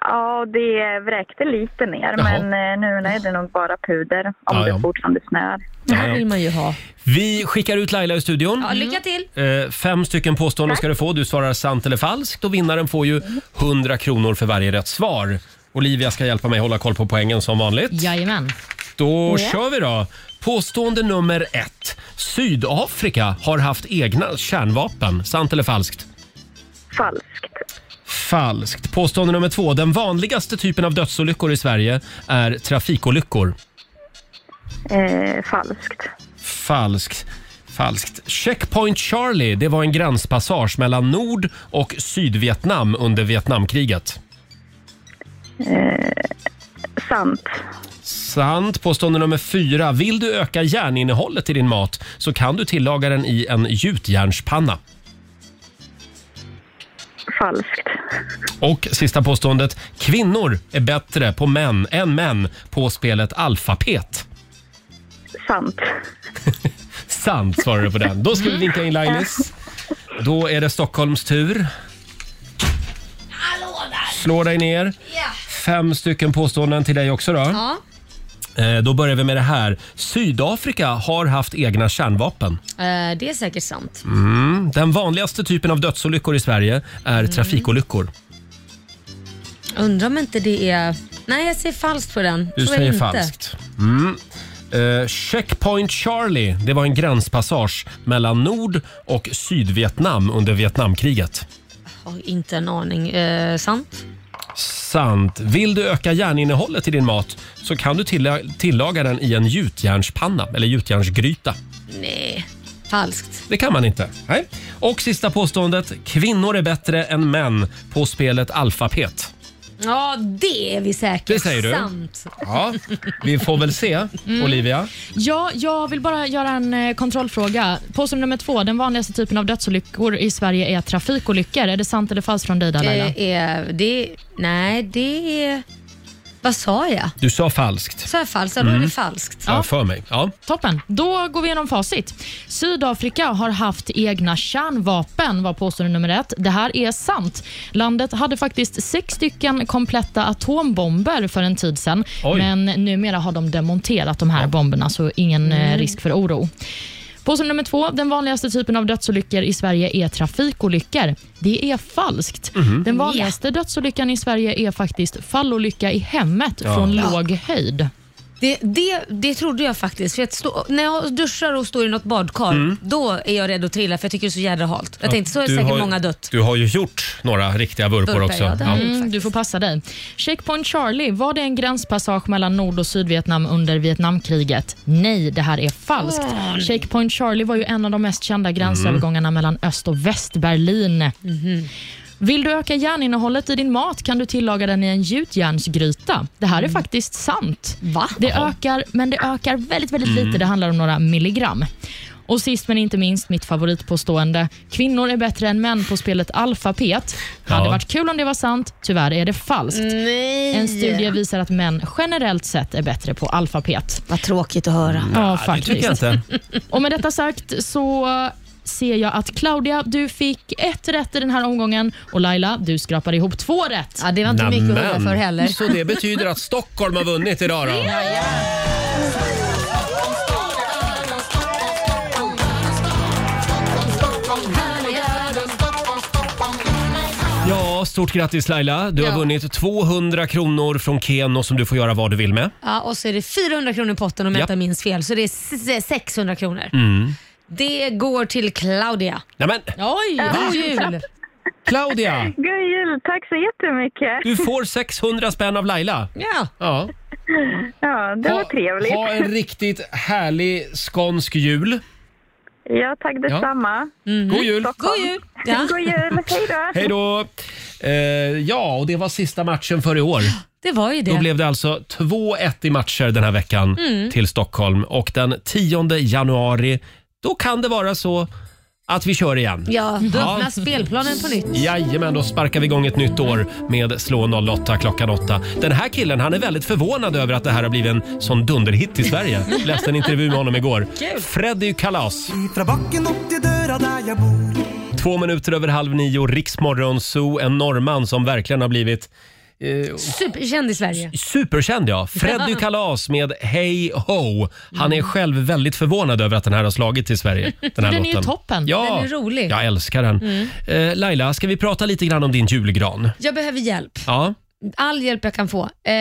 S5: Ja, det vräkte lite ner,
S1: Jaha.
S5: men eh, nu är det nog bara puder om
S1: Ja, ja.
S5: det fortfarande snöar.
S3: Det här vill man ju ha.
S1: Vi skickar ut Laila i studion.
S3: Ja, lycka till.
S1: Eh, Fem stycken påståenden ska du få. Du svarar sant eller falskt och vinnaren får ju 100 kronor för varje rätt svar. Olivia ska hjälpa mig hålla koll på poängen som vanligt.
S4: Jajamän.
S1: Då kör vi då. Påstående nummer ett. Sydafrika har haft egna kärnvapen. Sant eller falskt?
S5: Falskt.
S1: Falskt. Påstående nummer två. Den vanligaste typen av dödsolyckor i Sverige är trafikolyckor.
S5: Eh, falskt.
S1: Falskt. Falskt. Checkpoint Charlie, det var en gränspassage mellan Nord och Sydvietnam under Vietnamkriget.
S5: Sant.
S1: Sant. Påstående nummer fyra. Vill du öka järninnehållet i din mat så kan du tillaga den i en gjutjärnspanna.
S5: Falskt.
S1: Och sista påståendet. Kvinnor är bättre på män än män på spelet alfapet.
S5: Sant.
S1: *laughs* Sant svarar du på den. Då ska vi vinka in Lailis. Då är det Stockholms tur. Slå dig ner. Fem stycken påståenden till dig också då.
S3: Ja.
S1: Eh, Då börjar vi med det här. Sydafrika har haft egna kärnvapen.
S3: Eh, Det är säkert sant.
S1: Mm. Den vanligaste typen av dödsolyckor i Sverige är trafikolyckor.
S3: Undrar om inte det är... Nej, jag säger falskt på den.
S1: Du
S3: Tror jag
S1: säger
S3: inte.
S1: falskt. Mm. Eh, Checkpoint Charlie, det var en gränspassage mellan Nord och Sydvietnam under Vietnamkriget.
S3: Har inte en aning. Eh, sant?
S1: Sant. Vill du öka järninnehållet i din mat så kan du tilla- tillaga den i en gjutjärnspanna eller gjutjärnsgryta.
S3: Nej. Falskt.
S1: Det kan man inte. Nej. Och sista påståendet. Kvinnor är bättre än män på spelet alfapet.
S3: Ja, det är vi säkert.
S1: Det säger du.
S3: Sant.
S1: Ja, vi får väl se, Olivia.
S4: Ja, jag vill bara göra en eh, kontrollfråga. Påstående nummer två. Den vanligaste typen av dödsolyckor i Sverige är trafikolyckor. Är det sant eller falskt från dig där, Laila?
S3: Det är... Det... Nej, det är... Vad sa jag?
S1: Du sa falskt.
S3: Sa jag falskt? Ja, då
S1: Mm.
S3: är det falskt.
S1: Ja. för mig. Ja.
S4: Toppen. Då går vi igenom facit. Sydafrika har haft egna kärnvapen, var påstående nummer ett. Det här är sant. Landet hade faktiskt sex stycken kompletta atombomber för en tid sedan,
S1: Oj.
S4: men numera har de demonterat de här bomberna, så ingen eh, risk för oro. Påstående nummer två. Den vanligaste typen av dödsolyckor i Sverige är trafikolyckor. Det är falskt. Den vanligaste dödsolyckan i Sverige är faktiskt fallolycka i hemmet från låg höjd.
S3: Det, det, det trodde jag faktiskt. För att stå, när jag duschar och står i något badkar, då är jag rädd att trilla för jag tycker det är så jädra halt. Jag tänkte så har
S1: Mm. Du
S3: säkert
S1: har-
S3: många dött.
S1: Du har ju gjort några riktiga vurpor
S3: Vurpor,
S1: också.
S3: ja, det har jag.
S4: Mm, du får passa dig. Checkpoint Charlie, var det en gränspassage mellan Nord och Sydvietnam under Vietnamkriget? Nej, det här är falskt. Checkpoint Charlie var ju en av de mest kända gränsövergångarna mellan Öst och Västberlin. Vill du öka järninnehållet i din mat kan du tillaga den i en gjutjärnsgryta. Det här är faktiskt sant.
S9: Mm. Va? Mm.
S4: Det ökar, men det ökar väldigt, väldigt lite. Det handlar om några milligram. Och sist men inte minst, mitt favoritpåstående. Kvinnor är bättre än män på spelet alfapet. Hade
S1: Ja.
S4: varit kul om det var sant. Tyvärr är det falskt.
S9: Nej.
S4: En studie visar att män generellt sett är bättre på alfapet.
S9: Vad tråkigt att höra.
S4: Ja,
S1: Ja, det tycker jag inte.
S4: och med detta sagt så ser jag att Claudia, du fick ett rätt i den här omgången och Laila, du skrapar ihop två rätt.
S9: Ja, det var inte mycket att hurra för heller.
S1: Så det betyder att Stockholm har vunnit idag då? Ja, stort grattis Laila. Du har
S3: Ja.
S1: vunnit 200 kronor från Keno som du får göra vad du vill med.
S3: Ja, och så är det 400 kronor i potten om jag
S1: Ja. Mm.
S3: inte minns fel. Så det är s- 600 kronor. Det går till Claudia.
S1: Nej, men
S4: Oj!
S3: God jul!
S1: Claudia!
S5: God jul! Tack så jättemycket.
S1: Du får 600 spänn av Laila.
S3: Ja.
S1: Ja.
S5: Ja, det var trevligt.
S1: Ha en riktigt härlig skånsk jul.
S5: Ja, tack detsamma.
S9: Mm.
S1: God jul!
S3: God jul! Ja,
S5: Ja. God jul! Hej då!
S1: Hej då! Eh, ja, och det var sista matchen för i år.
S3: det var ju
S1: Då
S3: det. Mm.
S1: blev det alltså 2-1 i matcher den här veckan till Stockholm. Och den 10 januari, då kan det vara så att vi kör igen.
S3: Ja, då
S1: Ja.
S3: öppnas spelplanen på nytt.
S1: Jajamän, då sparkar vi igång ett nytt år med Slå 08 klockan 8. Den här killen han är väldigt förvånad över att det här har blivit en sån dunderhit i
S3: *laughs*
S1: Sverige. Läste en intervju med honom igår. Freddy Kalas.
S6: Fra bakken opp til døra der jeg bor.
S1: Två minuter över halv nio, Riksmorgon Zoo, en norrman som verkligen har blivit eh,
S3: Superkänd i Sverige.
S1: Superkänd
S3: *laughs*
S1: ja. Freddy Kalas med Hey Ho. Han
S3: Mm.
S1: är själv väldigt förvånad över att den här har slagit till
S3: *laughs*
S1: Sverige. Den här
S4: Den är ju
S1: låten.
S4: toppen.
S1: Ja,
S3: Den är rolig. Mm.
S1: Jag älskar den. Eh, Laila, ska vi prata lite grann om din julgran?
S3: Jag behöver hjälp.
S1: Ja.
S3: All hjälp jag kan få. Eh,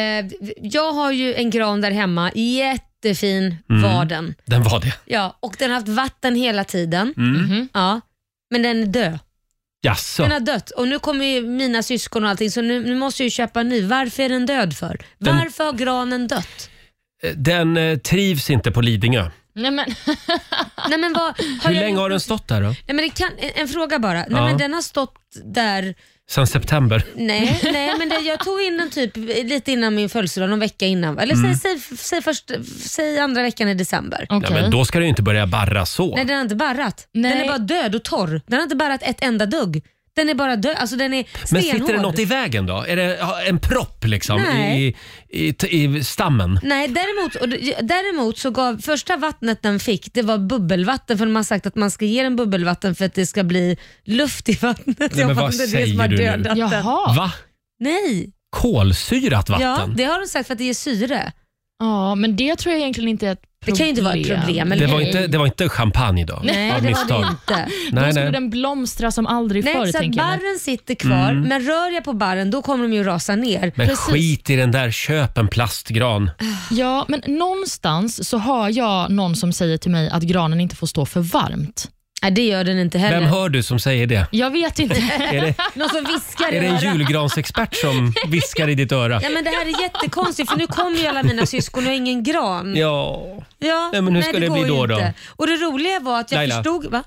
S3: jag har ju en gran där hemma. Jättefin
S1: Mm.
S3: var den.
S1: Den var det.
S3: Ja, och den har haft vatten hela tiden.
S1: Mm.
S3: Ja, men den är död.
S1: Jaså?
S3: Den har dött och nu kommer ju mina syskon och allting så nu, nu måste jag ju köpa en ny. Varför är den död för?
S1: Den-
S3: Varför har
S1: *laughs*
S3: granen dött?
S1: Eh, Den eh, trivs inte på Lidingö.
S4: Nej, men,
S3: Nej, men vad, har
S1: Hur
S3: jag-
S1: länge har den stått där då?
S3: Nej, men det kan, en, en fråga bara. Nej,
S1: Ja.
S3: men den har stått där.
S1: Sen september? *laughs*
S3: Nej, nej men det, jag tog in den typ lite innan min födelsedag, någon vecka innan. Eller
S1: Mm.
S3: säg, säg, säg, först, säg andra veckan i december.
S4: *laughs* okej.
S1: Nej, men då ska du ju inte börja barra så.
S3: Nej, den har inte barrat. Den
S4: Nej.
S3: är bara död och torr. Den har inte barrat ett enda dugg. Den är bara död. Alltså den är stenhård.
S1: Men sitter det något i vägen då? Är det ja, en propp liksom
S3: Nej.
S1: i, i, i, i stammen?
S3: Nej, däremot, och, d- däremot så gav första vattnet den fick, det var bubbelvatten för de har sagt att man ska ge den bubbelvatten för att det ska bli luft i vattnet.
S1: men
S3: Jag
S1: vad
S3: fattar inte det
S1: säger
S3: som har
S1: du nu?
S3: dödat den.
S4: Jaha.
S1: Va?
S3: Nej,
S1: Kolsyrat
S3: ja,
S1: vatten?
S3: det har de sagt för att det ger syre.
S4: Ja, men det tror jag egentligen inte är ett problem.
S3: Det kan ju inte vara ett problem. Eller
S1: Det var,
S3: hur?
S1: inte, det var inte champagne då?
S3: Nej,
S1: av
S3: det var
S1: misstag.
S3: det inte.
S4: Då
S1: Nej,
S4: skulle
S1: nej.
S4: den blomstra som aldrig förr.
S3: Nej, så att
S4: tänker jag.
S3: barren sitter kvar, men rör jag på barren då kommer de ju rasa ner.
S1: Mm. Men
S4: Precis.
S1: skit i den där, köp en plastgran.
S4: Ja, men någonstans så hör jag någon som säger till mig att granen inte får stå för varmt.
S3: Nej, det gör den inte heller.
S1: Vem hör du som säger det?
S4: Jag vet inte.
S3: *laughs*
S1: Är det,
S3: Någon som viskar
S1: är det en
S3: örat.
S1: julgransexpert som viskar i ditt öra?
S3: Ja, men det här är jättekonstigt för nu kommer ju alla mina syskon och jag har ingen gran.
S1: Ja,
S3: Ja,
S1: Nej, men hur ska det
S3: går
S1: bli
S3: ju
S1: då då?
S3: inte. Och det roliga var att jag
S1: Laila.
S3: förstod... Va?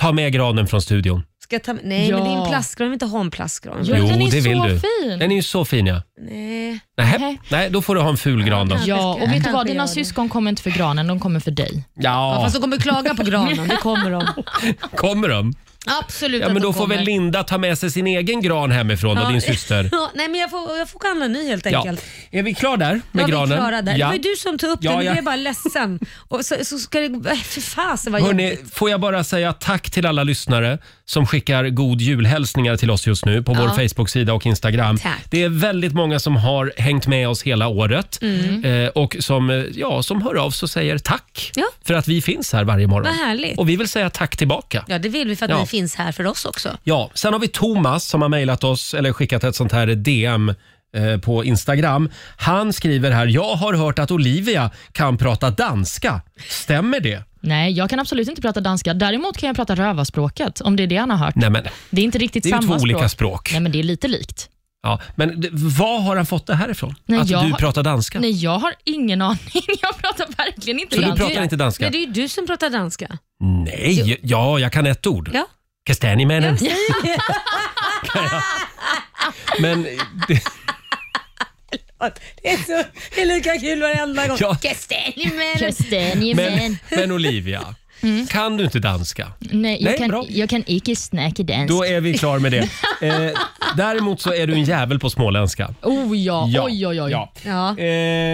S1: ta med granen från studion.
S3: Ska jag ta, nej,
S4: Ja.
S3: men det är en plastgran. Jag vill inte ha en plastgran.
S4: Jo, den är
S1: det
S4: så
S1: vill du.
S4: fin.
S1: Den är ju så fin ja.
S3: Nej.
S1: Nej,
S4: Nej.
S1: nej, då får du ha en ful gran då.
S4: Ja, och vet du vad?
S3: Kanske
S4: Dina
S3: gör det.
S4: syskon kommer inte för granen, de kommer för dig.
S3: Ja,
S1: Ja,
S3: fast de kommer klaga på granen. Det kommer de.
S1: *laughs* kommer de?
S3: Absolut
S1: Ja,
S3: att
S1: men
S3: de
S1: då får
S3: kommer.
S1: väl Linda ta med sig sin egen gran hemifrån och
S3: Ja.
S1: din
S3: *laughs*
S1: syster.
S3: Ja, nej, men jag får, jag får handla en ny helt
S1: Ja.
S3: enkelt.
S1: Är vi klar där med
S3: Ja, vi är
S1: granen?
S3: klara där. Det var
S1: Ja.
S3: ju du som tog upp
S1: Ja,
S3: den, nu
S1: ja.
S3: blev jag bara ledsen. Och så, så ska det... äh, Fy fasen vad
S1: Hörrni,
S3: jobbigt.
S1: får jag bara säga tack till alla lyssnare som skickar god julhälsningar till oss just nu på vår Facebook-sida och Instagram.
S3: Tack.
S1: Det är väldigt många som har hängt med oss hela året
S3: Mm.
S1: eh, och som, eh, ja, som hör av sig och säger tack
S3: Ja.
S1: för att vi finns här varje morgon.
S3: Vad härligt.
S1: Och vi vill säga tack tillbaka.
S3: Ja, det vill vi för att
S1: Ja.
S3: ni finns här för oss också.
S1: Ja, sen har vi Thomas som har mejlat oss eller skickat ett sånt här DM eh, på Instagram. Han skriver här, jag har hört att Olivia kan prata danska. Stämmer det?
S4: Nej, jag kan absolut inte prata danska. Däremot kan jag prata rövarspråket, om det är det han har hört.
S1: Nej, men
S4: Det är inte riktigt
S1: det är
S4: samma
S1: ju två
S4: språk.
S1: olika språk.
S4: Nej, men det är lite likt.
S1: Ja, men d- vad har han fått det här ifrån?
S4: Nej,
S1: att
S4: jag
S1: du
S4: har-
S1: pratar danska?
S4: Nej, jag har ingen *laughs* aning. Jag pratar verkligen inte
S1: Så du
S4: danska.
S1: pratar inte danska?
S3: Nej, det är ju du som pratar danska.
S1: Nej, ja, jag kan ett ord.
S3: Ja.
S1: Kastanjemännen.
S3: Ja.
S1: *laughs* Men det,
S3: Det är, så, det är lika kul varenda gång.
S1: Ja.
S3: *laughs* Kastanjemän.
S1: men,
S4: Kastanjemän.
S1: men Olivia, kan du inte danska?
S4: Mm. Nej, jag,
S1: Nej, bra.
S4: kan, jag kan icke snacka dansk.
S1: Då är vi klar med
S4: *laughs*
S1: det. Eh, däremot så är du en jävel på småländska.
S4: Oh ja, oj oj oj.
S1: Ja.
S3: Ja.
S1: Eh,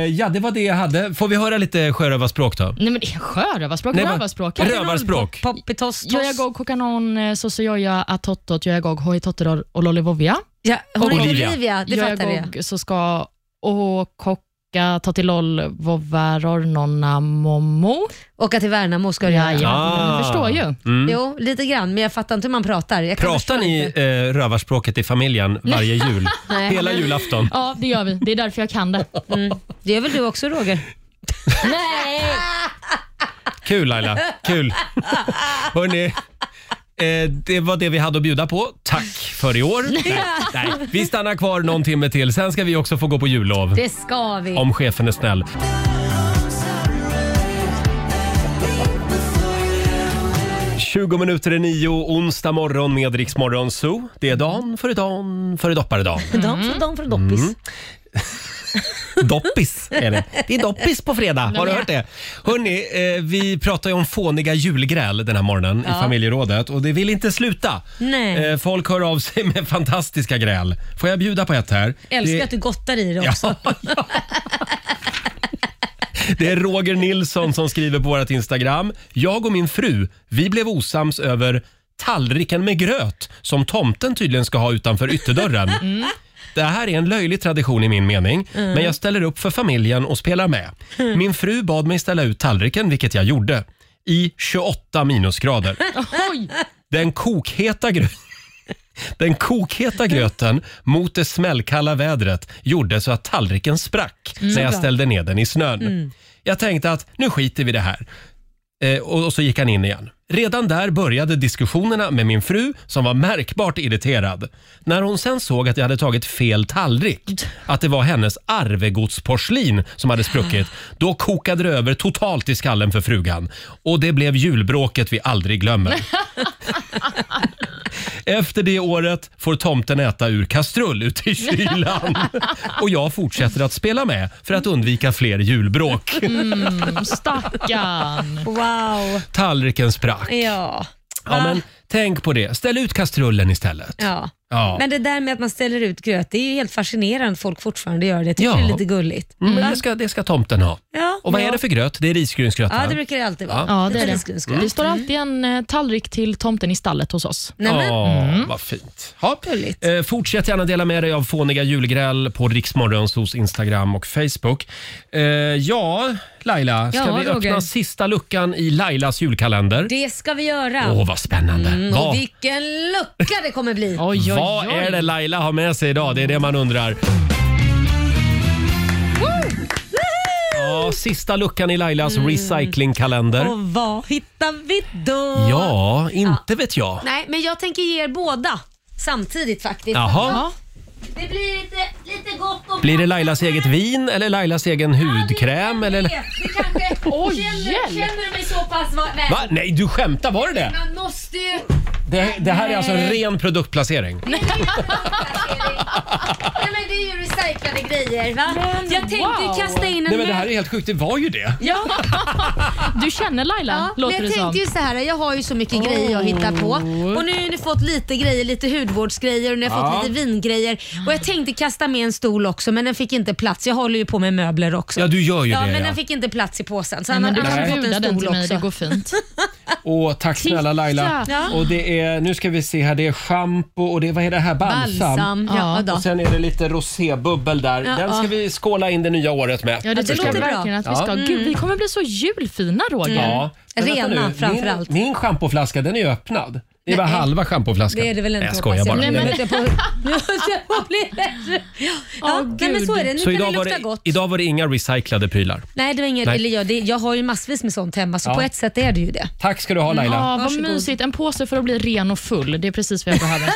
S1: ja, det var det jag hade. Får vi höra lite sjörövarspråk då?
S4: Nej men det är sjörövarspråk,
S1: Nej, men-
S4: rövarspråk.
S1: Rövarspråk.
S3: Poppitoss.
S4: Jag jag gåg kokanon sosojoja atottot, jag jag hoj totteror och lollivovia.
S3: Ja, hon är
S1: Olivia.
S3: Olivia, det
S4: jag
S3: fattar jag.
S4: jag så ska och kocka tottiloll vovaror nonna momo.
S3: Åka till Värnamo ska du
S4: Ja,
S3: göra.
S4: ja.
S1: Ah.
S4: Jag förstår ju.
S1: Mm.
S3: Jo, lite grann, men jag fattar inte hur man pratar. Jag kan
S1: Pratar
S3: förstå
S1: ni
S3: inte.
S1: eh, rövarspråket i familjen
S3: *laughs*
S1: varje jul?
S3: Nej.
S1: Hela julafton?
S4: Ja, det gör vi. Det är därför jag kan det.
S3: Mm. Det gör väl du också *laughs* Roger?
S4: Nej!
S1: Kul Laila,
S3: *laughs*
S1: kul. Hörrni, eh, det var det vi hade att bjuda på. Tack för i
S3: *laughs*
S1: år. Nej, nej. Vi stannar kvar någon timme till, sen ska vi också få gå på jullov.
S3: Det ska vi.
S1: Om chefen är snäll. Tjugo minuter i nio, onsdag morgon med Rix Morgon Zoo. Det är dan före dan före dopparedan.
S3: Dom från dom från doppis.
S1: Mm. Doppis är det. Det är doppis på fredag. Har du hört det? Hörni, eh, vi pratar ju om fåniga julgräl den här morgonen i familjerådet och det vill inte sluta.
S3: Nej.
S1: Eh, folk hör av sig med fantastiska gräl. Får jag bjuda på ett här?
S3: Älskar
S1: det...
S3: att du gottar i det också.
S1: Ja, ja. Det är Roger Nilsson som skriver på vårt Instagram. Jag och min fru, vi blev osams över tallriken med gröt som tomten tydligen ska ha utanför ytterdörren. Det här är en löjlig tradition i min mening, men jag ställer upp för familjen och spelar med. Min fru bad mig ställa ut tallriken, vilket jag gjorde, i 28 minusgrader.
S4: Oj!
S1: Den kokheta gröten den kokheta gröten mot det smällkalla vädret gjorde så att tallriken sprack när jag ställde ner den i snön. Jag tänkte att nu skiter vi i det här. Eh, och, och så gick han in igen. Redan där började diskussionerna med min fru som var märkbart irriterad. När hon sen såg att jag hade tagit fel tallrik, att det var hennes arvegodsporslin som hade spruckit, då kokade det över totalt i skallen för frugan. Och det blev julbråket vi aldrig glömmer. Efter det året får tomten äta ur kastrull ute i
S3: *laughs*
S1: kylan. Och jag fortsätter att spela med för att undvika fler julbråk.
S4: Mm. Stackarn.
S3: Wow.
S1: Tallriken sprack.
S3: Ja.
S1: Ja, men tänk på det. Ställ ut kastrullen istället.
S3: ja.
S1: Ja.
S3: Men det där med att man ställer ut gröt, det är ju helt fascinerande att folk fortfarande gör det. Jag tycker
S1: Ja.
S3: det är lite gulligt.
S1: Mm, men det, ska, det ska tomten ha.
S3: Ja,
S1: Och vad
S3: ja.
S1: är det för gröt? Det är risgrynsgröt,
S3: Ja,
S1: va?
S3: det brukar det alltid vara.
S4: Ja, det är det.
S3: Risgrynsgröt.
S1: Mm.
S4: Det står alltid en eh, tallrik till tomten i stallet hos oss.
S3: Nej, men,
S1: Åh, vad fint. Ja.
S3: Mm. Gulligt.
S1: Eh, fortsätt gärna dela med dig av fåniga julgräl på Riksmorgonsos Instagram och Facebook. Eh, ja, Laila, ska
S3: Ja,
S1: vi
S3: Roger.
S1: öppna sista luckan i Lailas julkalender?
S3: Det ska vi göra.
S1: Åh, vad spännande.
S3: Mm, och
S1: vad
S3: vilken lucka det
S1: *laughs*
S3: kommer bli.
S4: Oj, oj,
S1: vad
S4: oj.
S1: är det Laila har med sig idag? Det är det man undrar. Ja, sista luckan i Lailas
S3: Mm.
S1: recyclingkalender.
S3: Och vad hittar vi då?
S1: Ja, inte vet jag.
S3: Nej, men jag tänker ge er båda samtidigt faktiskt.
S1: Jaha.
S3: Det blir lite, lite gott och
S1: Blir det Lailas eget vin eller Lailas egen hudkräm? Eller?
S3: Det kanske...
S4: *laughs* Oj,
S3: känner,
S4: hjälp.
S3: känner mig så pass va- väl.
S1: Va? Nej, du skämtar. Var det det?
S3: Man måste ju... *laughs*
S1: Det, det här är alltså en ren produktplacering.
S3: Nej, det är ju recyclade grejer. Nej, men det är ju recyclade grejer. Va? jag tänkte ju
S4: wow.
S3: kasta in en
S1: Nej, men det
S3: mö-
S1: här är helt sjukt. Det var ju det.
S4: Ja. *laughs* Du känner Laila,
S3: men
S4: låter
S3: jag
S4: det som.
S3: tänkte ju så här, jag har ju så mycket grejer jag hittar på.
S1: Oh.
S3: Och nu har ni fått lite grejer, lite hudvårdsgrejer och ni har fått lite vingrejer. Och jag tänkte kasta med en stol också men den fick inte plats. Jag håller ju på med möbler också.
S1: Ja, du gör ju
S3: ja,
S1: det.
S3: men
S1: Ja.
S3: den fick inte plats i påsen. Så han
S4: Men
S3: har
S4: du
S3: han
S4: kan
S3: har fått
S4: bjuda
S3: en
S4: den
S3: stol
S4: till mig,
S3: också.
S4: det går fint.
S1: Åh, tack snälla Laila.
S4: Titta.
S1: Och det är, nu ska vi se här, det är schampo och det, vad är det här? Balsam.
S3: Balsam. Ja,
S4: Ja.
S3: då.
S1: Och sen är det lite rosébubbel där. Den ska
S3: ja.
S1: vi skåla in det nya året med.
S4: Ja, det, tycker jag
S3: låter bra.
S4: verkligen att vi ska.
S1: Ja.
S4: Gud, vi kommer bli så julfina, Roger.
S1: Ja. Men vänta
S3: Rena
S1: nu,
S3: framför
S1: min,
S3: allt.
S1: Min schampoflaska, den är ju öppnad. Det är bara halva schampoflaskan.
S3: Det är det väl inte
S1: Nej, jag skojar bara.
S3: Nej, men...
S1: Den-
S3: Nu *laughs* höll jag på att bli rädd. Ja, nej, men så är det. Nu
S1: Så
S3: kan
S1: idag
S3: det
S1: var
S3: lukta
S1: det,
S3: gott.
S1: idag var det inga recyclade prylar.
S3: Nej, det var inget,
S1: Nej.
S3: eller jag, det, jag har ju massvis med sånt hemma så
S1: Ja.
S3: på ett sätt är
S1: *laughs*
S3: det ju det.
S1: Tack ska du ha Laila.
S4: Ja, vad
S3: Varsågod.
S4: mysigt. En påse för att bli ren och full. Det är precis vad jag behöver.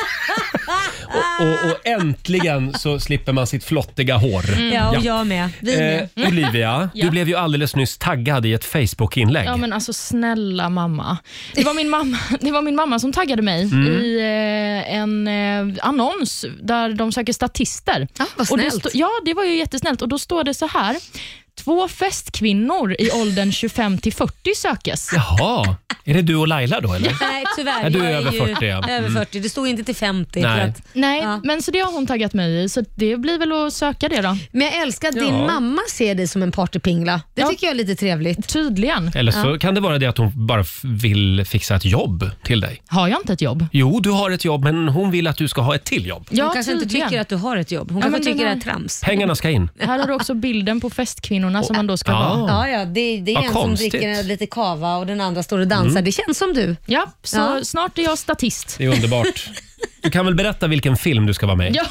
S1: Och, och, och äntligen så slipper man sitt flottiga hår.
S3: Mm. Ja,
S1: Ja.
S3: och jag med. Vi med.
S1: Eh, Olivia,
S4: Ja.
S1: du blev ju alldeles nyss taggad i ett Facebook-inlägg.
S4: Ja men alltså snälla mamma. Det var min mamma, *laughs* det var min mamma som taggade mig
S3: Mm.
S4: i eh, en eh, annons där de söker statister.
S3: Ah,
S9: Ja, vad
S4: Och då
S9: snällt.
S4: stå- ja, det var ju jättesnällt. Och då står det så här. Två festkvinnor i åldern 25 till 40 sökes.
S1: Jaha, är det du och Laila då eller?
S3: Nej, tyvärr.
S1: Ja, du är
S3: jag
S1: över
S3: ju
S1: 40, ja.
S3: Över
S1: Mm.
S3: 40. Det stod inte till 50.
S1: Nej.
S3: för Att,
S4: Nej,
S3: Ja.
S4: men så det har hon taggat mig i, så det blir väl att söka det då.
S3: men jag älskar att din
S1: Ja.
S3: mamma ser dig som en partypingla. Det
S4: Ja.
S3: tycker jag är lite trevligt.
S4: Tydligen.
S1: Eller så kan det vara det att hon bara f- vill fixa ett jobb till dig.
S4: Har jag inte ett jobb?
S1: Jo, du har ett jobb, men hon vill att du ska ha ett till jobb.
S3: Hon
S4: Ja,
S3: kanske inte
S4: tydligen.
S3: tycker att du har ett jobb. Hon
S4: Ja,
S3: kanske
S4: men
S3: tycker det är
S4: den
S3: trams.
S1: Pengarna ska in. Ah.
S4: Här har du också bilden på festkvinnorna som man då ska
S1: Ja.
S4: vara.
S3: Ja, ja, det, det är
S1: Vad
S3: en
S1: konstigt. Mm.
S3: som dricker lite kava och den andra står och dansar. Det känns som du.
S4: Ja, så
S3: Ja.
S4: snart är jag statist.
S1: Det är underbart. Du kan väl berätta vilken film du ska vara med i?
S4: Ja.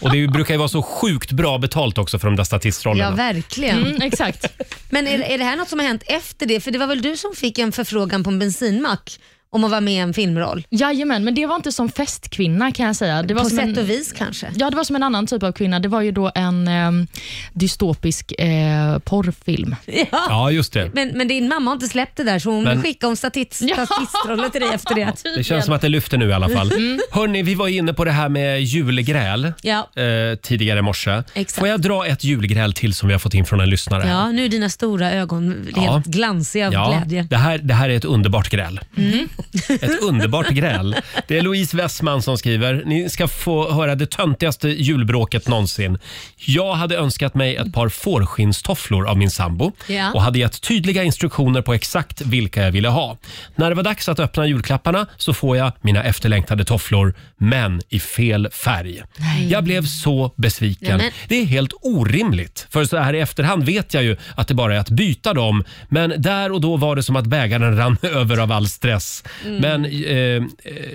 S1: Och det brukar ju vara så sjukt bra betalt också för de där
S3: Ja,
S1: statistrollerna.
S3: verkligen.
S4: Mm, exakt.
S3: Men är, är det här något som har hänt efter det? För det var väl du som fick en förfrågan på en bensinmack om att vara med i en filmroll?
S4: Jajamän, men det var inte som festkvinna kan jag säga. Det var
S3: På
S4: som
S3: sätt
S4: en,
S3: och vis kanske?
S4: Ja, det var som en annan typ av kvinna. Det var ju då en eh, dystopisk eh, porrfilm.
S3: Ja.
S1: Ja, just det.
S3: Men, men din mamma har inte släppt det där så hon
S1: Men-
S3: skickade hon statist,
S4: Ja.
S3: statistrollen till dig efter *laughs* det.
S1: Det känns som att det lyfter nu i alla fall. Hörni, vi var inne på det här med julgräl
S3: Ja.
S1: eh, tidigare i morse.
S3: Exakt.
S1: Får jag dra ett julgräl till som vi har fått in från en lyssnare? här?
S3: Ja, nu är dina stora ögon helt
S1: Ja.
S3: glansiga av glädje. Mm.
S1: Det här, det här är ett underbart gräl. *laughs* Ett underbart gräl. Det är Louise Westman som skriver. Ni ska få höra det töntigaste julbråket någonsin. Jag hade önskat mig ett par fårskinnstofflor av min sambo
S3: Ja.
S1: och hade gett tydliga instruktioner på exakt vilka jag ville ha. När det var dags att öppna julklapparna så får jag mina efterlängtade tofflor, men i fel färg. Jag blev så besviken.
S3: Nämen.
S1: Det är helt orimligt. För så här i efterhand vet jag ju att det bara är att byta dem. Men där och då var det som att bägaren rann *laughs* över av all stress. Men eh, eh,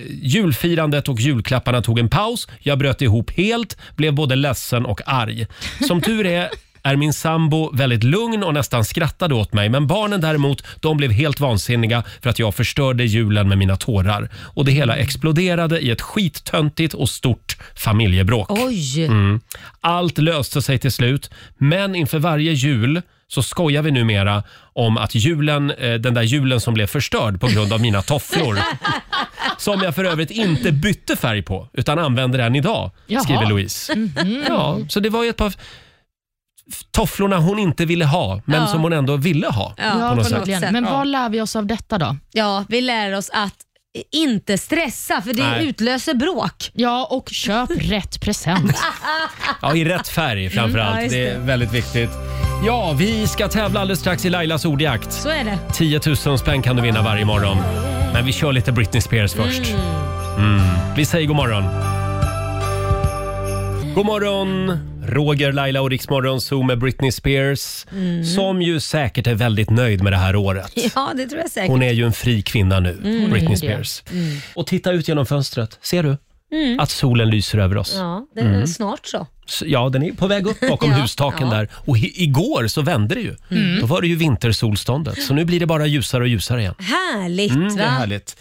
S1: julfirandet och julklapparna tog en paus. Jag bröt ihop helt, blev både ledsen och arg. Som tur är är min sambo väldigt lugn och nästan skrattade åt mig. Men barnen däremot, de blev helt vansinniga för att jag förstörde julen med mina tårar. Och det hela exploderade i ett skittöntigt och stort familjebråk.
S3: Oj!
S1: Mm, Allt löste sig till slut, men inför varje jul så skojar vi numera om att julen, eh, den där julen som blev förstörd på grund av mina
S3: *laughs*
S1: tofflor. som jag för övrigt inte bytte färg på, utan använder än idag,
S4: Jaha.
S1: skriver Louise.
S3: Mhm.
S1: Ja, så det var ju ett par f- tofflorna hon inte ville ha, men
S3: Ja.
S1: som hon ändå ville ha.
S3: Ja,
S1: på något
S4: Verkligen. Men vad lär vi oss av detta då?
S3: Ja, vi lär oss att inte stressa för det
S1: Nej.
S3: utlöser bråk.
S4: Ja, och
S3: *laughs*
S4: köp rätt present.
S1: Ja, i rätt färg framför
S3: Mm, ja,
S1: allt.
S3: just
S1: Det
S3: det.
S1: är väldigt viktigt. Ja, vi ska tävla alldeles strax i Lailas ordjakt.
S3: Så är det.
S1: 10 000 spänn kan du vinna varje morgon. Men vi kör lite Britney Spears först. Mm. Vi säger god morgon. God morgon, Roger, Laila och Riksmorgon Zoo med Britney Spears. Som ju säkert är väldigt nöjd med det här året.
S3: *laughs* Mm. Ja, Mm. det tror jag säkert.
S1: Hon är ju en fri kvinna nu, Britney
S4: det.
S1: Spears.
S3: Mm.
S1: Och titta ut genom fönstret. Ser du? Att solen lyser över oss.
S3: Ja, det är
S1: Mm.
S3: snart så.
S1: S- Ja, den är på väg
S3: *laughs*
S1: upp bakom
S3: Ja,
S1: hustaken
S3: ja. Mm.
S1: där. Och i- igår så vände det ju. Då var det ju vintersolståndet. Så nu blir det bara ljusare och ljusare igen.
S3: Härligt
S1: Mm,
S3: va? Mm.
S1: det är härligt.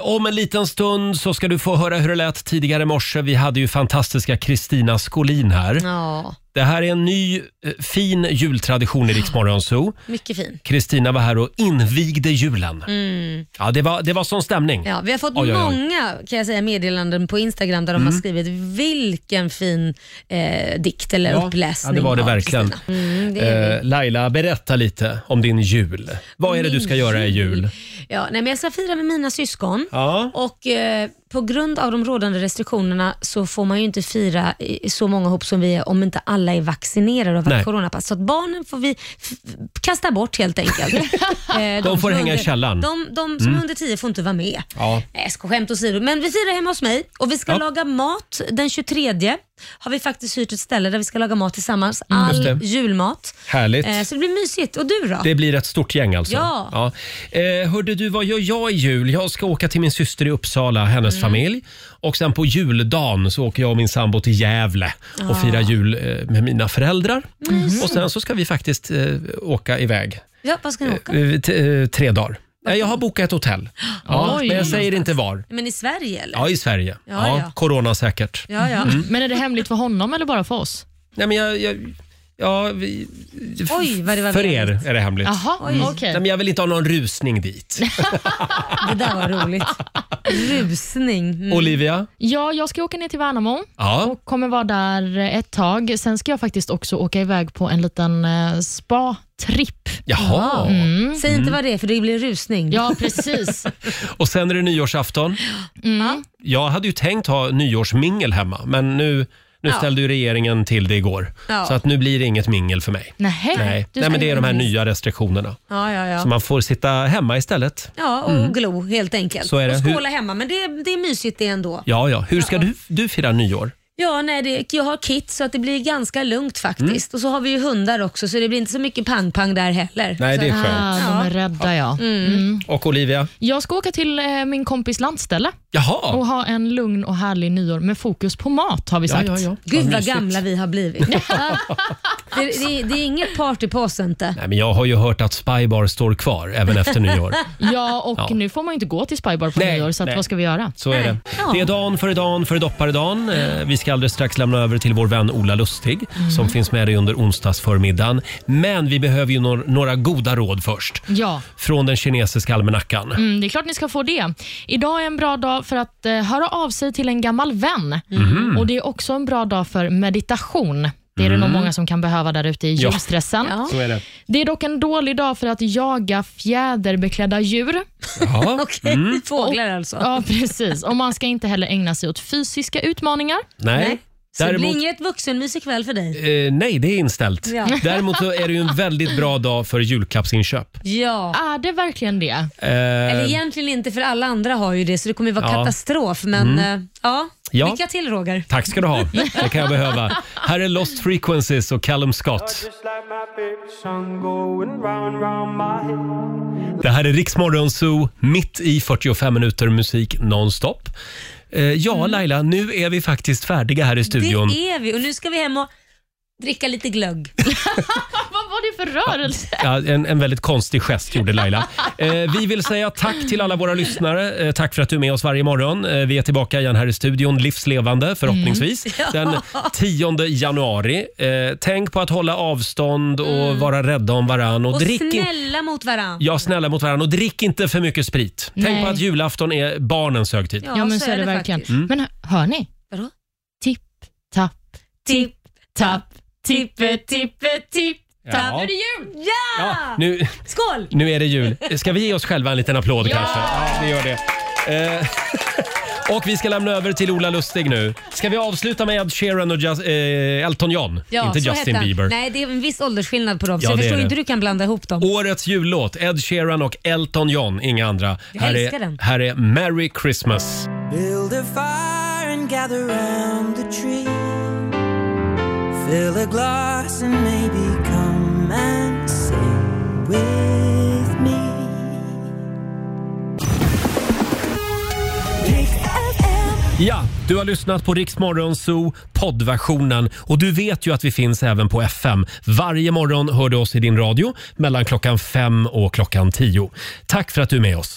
S1: Eh, om en liten stund så ska du få höra hur det lät tidigare i morse. Vi hade ju fantastiska Kristina Skolin här.
S3: Ja,
S1: Det här är en ny eh, fin jultradition i Rix Morgon Zoo.
S3: mycket fin.
S1: Kristina var här och invigde julen. Ja, det var, det var sån stämning.
S3: Mm. Ja, vi har fått
S1: Oj, Mm. oj, oj.
S3: många kan jag säga, meddelanden på Instagram där de har skrivit vilken fin eh, dikt eller
S1: Ja,
S3: uppläsning.
S1: ja, det var det
S3: av
S1: verkligen.
S3: Kristina. Mm, det är
S1: Eh, Laila, berätta lite om din jul. Vad är det du ska göra i jul?
S3: Ja, nej, men jag ska fira med mina syskon.
S1: Ja.
S3: Och eh, På grund av de rådande restriktionerna så får man ju inte fira i- så många ihop som vi är om inte alla är vaccinerade och har
S1: Nej.
S3: varit coronapass. Så att barnen får vi f- f- kasta bort
S1: *laughs*
S3: helt enkelt. Eh, de,
S1: får
S3: som är
S1: hänga i
S3: under-
S1: källaren. Mm.
S3: De, de som är under 10 får inte vara med.
S1: Ja.
S3: Nej, jag ska skämt åsido. Men vi firar hemma hos mig och vi ska
S1: Ja.
S3: laga mat den 23. Har vi faktiskt hyrt ett ställe där vi ska laga mat tillsammans.
S1: Mm, Just det.
S3: All julmat.
S1: Härligt.
S3: Eh, så det blir mysigt. Och du då?
S1: Det blir ett stort gäng alltså.
S3: Ja.
S1: Eh, hörde du, vad gör jag i jul? Jag ska åka till min syster i Uppsala, hennes
S3: Mm.
S1: familj. Och sen på juldagen så åker jag och min sambo till Gävle
S3: Ah.
S1: och firar jul eh, med mina föräldrar. Och sen så ska vi faktiskt eh, åka iväg
S3: Ja, vad ska ni åka?
S1: eh, t- eh, tre dagar. Nej, jag har bokat ett
S3: *gasps*
S1: hotell. Ja,
S4: Oj.
S1: men jag säger inte var.
S3: Men i Sverige eller?
S1: Ja, Mm. i Sverige.
S3: Ja,
S1: Ja,
S3: ja.
S1: Coronasäkert.
S3: Ja, ja.
S4: Men är det hemligt för honom eller bara för oss?
S1: Nej, men jag... jag ja, vi,
S3: Oj, vad det var
S1: för er
S3: veligt.
S1: är det hemligt.
S4: Jaha,
S3: Mm.
S4: okej.
S1: Nej, men jag vill inte ha någon rusning
S3: *laughs*
S1: dit.
S3: Det där var roligt. Rusning. Mm.
S1: Olivia?
S4: Ja, jag ska åka ner till Värnamo
S1: Ja.
S4: och kommer vara där ett tag. Sen ska jag faktiskt också åka iväg på en liten eh, spa-tripp.
S1: Jaha.
S4: Mm.
S3: Säg
S1: Mm.
S3: inte vad det är för det blir rusning.
S4: Ja, precis.
S1: Och sen är det nyårsafton.
S4: Mm.
S1: Jag hade ju tänkt ha nyårsmingel hemma, men nu, nu ställde ju regeringen till det igår.
S3: Ja.
S1: Så att nu blir det inget mingel för mig.
S4: Nähä.
S1: Nej,
S4: Du
S1: Nej
S4: ska
S1: men det är de här
S4: inte-
S1: nya restriktionerna.
S3: Ja, ja,
S1: Så
S3: ja.
S1: man får sitta hemma istället.
S3: ja och glo helt enkelt.
S1: Mm. Så är det.
S3: Och skåla
S1: Hur-
S3: hemma. Men det, det är mysigt det ändå.
S1: Ja, ja. Hur ska Du, du fira nyår?
S3: Ja, nej, det, jag har kit så att det blir ganska lugnt faktiskt.
S1: Mm.
S3: Och så har vi ju hundar också så det blir inte så mycket pang-pang där heller.
S1: Nej,
S3: så,
S1: det är skönt.
S4: Ah, de är rädda ja.
S3: Mm.
S4: Ah.
S1: Och Olivia?
S4: Jag ska åka till eh, min kompis landställe och
S1: Jaha!
S4: ha en lugn och härlig nyår med fokus på mat har vi sagt.
S3: Gud vad
S1: mysigt.
S3: gamla vi
S1: *laughs*
S3: har blivit. det, det, det är inget party på oss inte.
S1: Nej, men jag har ju hört att Spybar står kvar även efter nyår. *laughs*
S4: Ja, och
S1: Ja.
S4: nu får man ju inte gå till Spybar på
S1: Nej,
S4: nyår, så att,
S1: nej.
S4: vad ska vi göra?
S1: Så är det. Det är dan för dan för dopparedan. Eh, Vi ska alldeles strax lämna över till vår vän Ola Lustig
S3: Mm.
S1: som finns med dig under onsdagsförmiddagen. Men vi behöver ju nor- några goda råd först.
S4: Ja,
S1: Från den kinesiska almanackan.
S4: mm, det är klart ni ska få det. Idag är en bra dag för att eh, höra av sig till en gammal vän.
S1: Mhm.
S4: Och Det är också en bra dag för meditation. Det är det nog många som kan behöva där ute i
S1: Ja.
S4: julstressen.
S3: Ja.
S1: Så är det.
S4: Det är dock en dålig dag för att jaga fjäderbeklädda djur.
S3: *laughs*
S1: Ja.
S3: Okej,
S1: Mm.
S3: fåglar alltså.
S4: Ja, precis. Och Man ska inte heller ägna sig åt fysiska utmaningar.
S1: Nej.
S3: Nej. Så det
S1: Däremot,
S3: blir inget vuxenmys ikväll för dig.
S1: eh, nej, det är inställt.
S3: Ja.
S1: *laughs* Däremot så är det ju en väldigt bra dag för julklappsinköp.
S3: Ja.
S4: Är det verkligen det?
S1: Eh,
S3: Eller egentligen inte för alla andra har ju det så det kommer ju vara
S1: Ja. Mm.
S3: katastrof. Men eh, ja.
S1: Ja.
S3: lycka till Roger.
S1: Tack ska du
S3: *laughs*
S1: ha. Det kan jag behöva. Här är Lost Frequencies och Callum Scott. Det här är Riksmorgon Zoo, mitt i 45 minuter musik nonstop. Eh, ja, Laila, nu är vi faktiskt färdiga här i studion.
S3: Det är vi och nu ska vi hem och dricka lite glögg.
S4: Vad var det för rörelse?
S1: Ja, en, en väldigt konstig gest gjorde Laila. Eh, vi vill säga tack till alla våra lyssnare. Eh, tack för att du är med oss varje morgon. Eh, vi är tillbaka igen här i studion, livslevande förhoppningsvis, den 10 januari. Eh, tänk på att hålla avstånd och vara rädda om varann. Och,
S3: Och
S1: drick in-
S3: snälla mot varandra.
S1: Ja, snälla mot varandra och drick inte för mycket sprit. Tänk
S4: Nej.
S1: på att julafton är barnens högtid.
S4: Ja, men så, är det, verkligen.
S3: faktiskt.
S4: Men hör- hör ni?
S3: Vadå?
S4: Tipp, tapp,
S3: Tipp,
S4: tapp, tippe, tippe, tipp,
S1: Ja.
S4: tapp. Nu är det jul!
S3: ja!
S1: Ja, nu,
S3: Skål!
S1: nu är det jul. Ska vi ge oss själva en liten applåd
S4: Ja!
S1: kanske? Ja, vi gör det. Eh, *laughs* och vi ska lämna över till Ola Lustig nu. Ska vi avsluta med Ed Sheeran och Just, eh, Elton John?
S3: Ja,
S1: inte
S3: så hette
S1: Justin
S3: han.
S1: Bieber.
S3: Nej, det är en viss åldersskillnad på dem,
S1: Ja,
S3: så jag
S1: det är
S3: förstår
S1: det.
S3: inte hur du kan blanda ihop dem.
S1: Årets jullåt, Ed Sheeran och Elton John, inga andra.
S3: Jag
S1: här,
S3: älskar
S1: är,
S3: den.
S1: här är Merry Christmas.
S6: Build a fire and gather round the tree. Fill a glass and maybe come and sing with me.
S1: Ja, du har lyssnat på Riksmorgon Zoo poddversionen och du vet ju att vi finns även på FM. Varje morgon hör du oss i din radio mellan klockan fem och klockan tio. Tack för att du är med oss.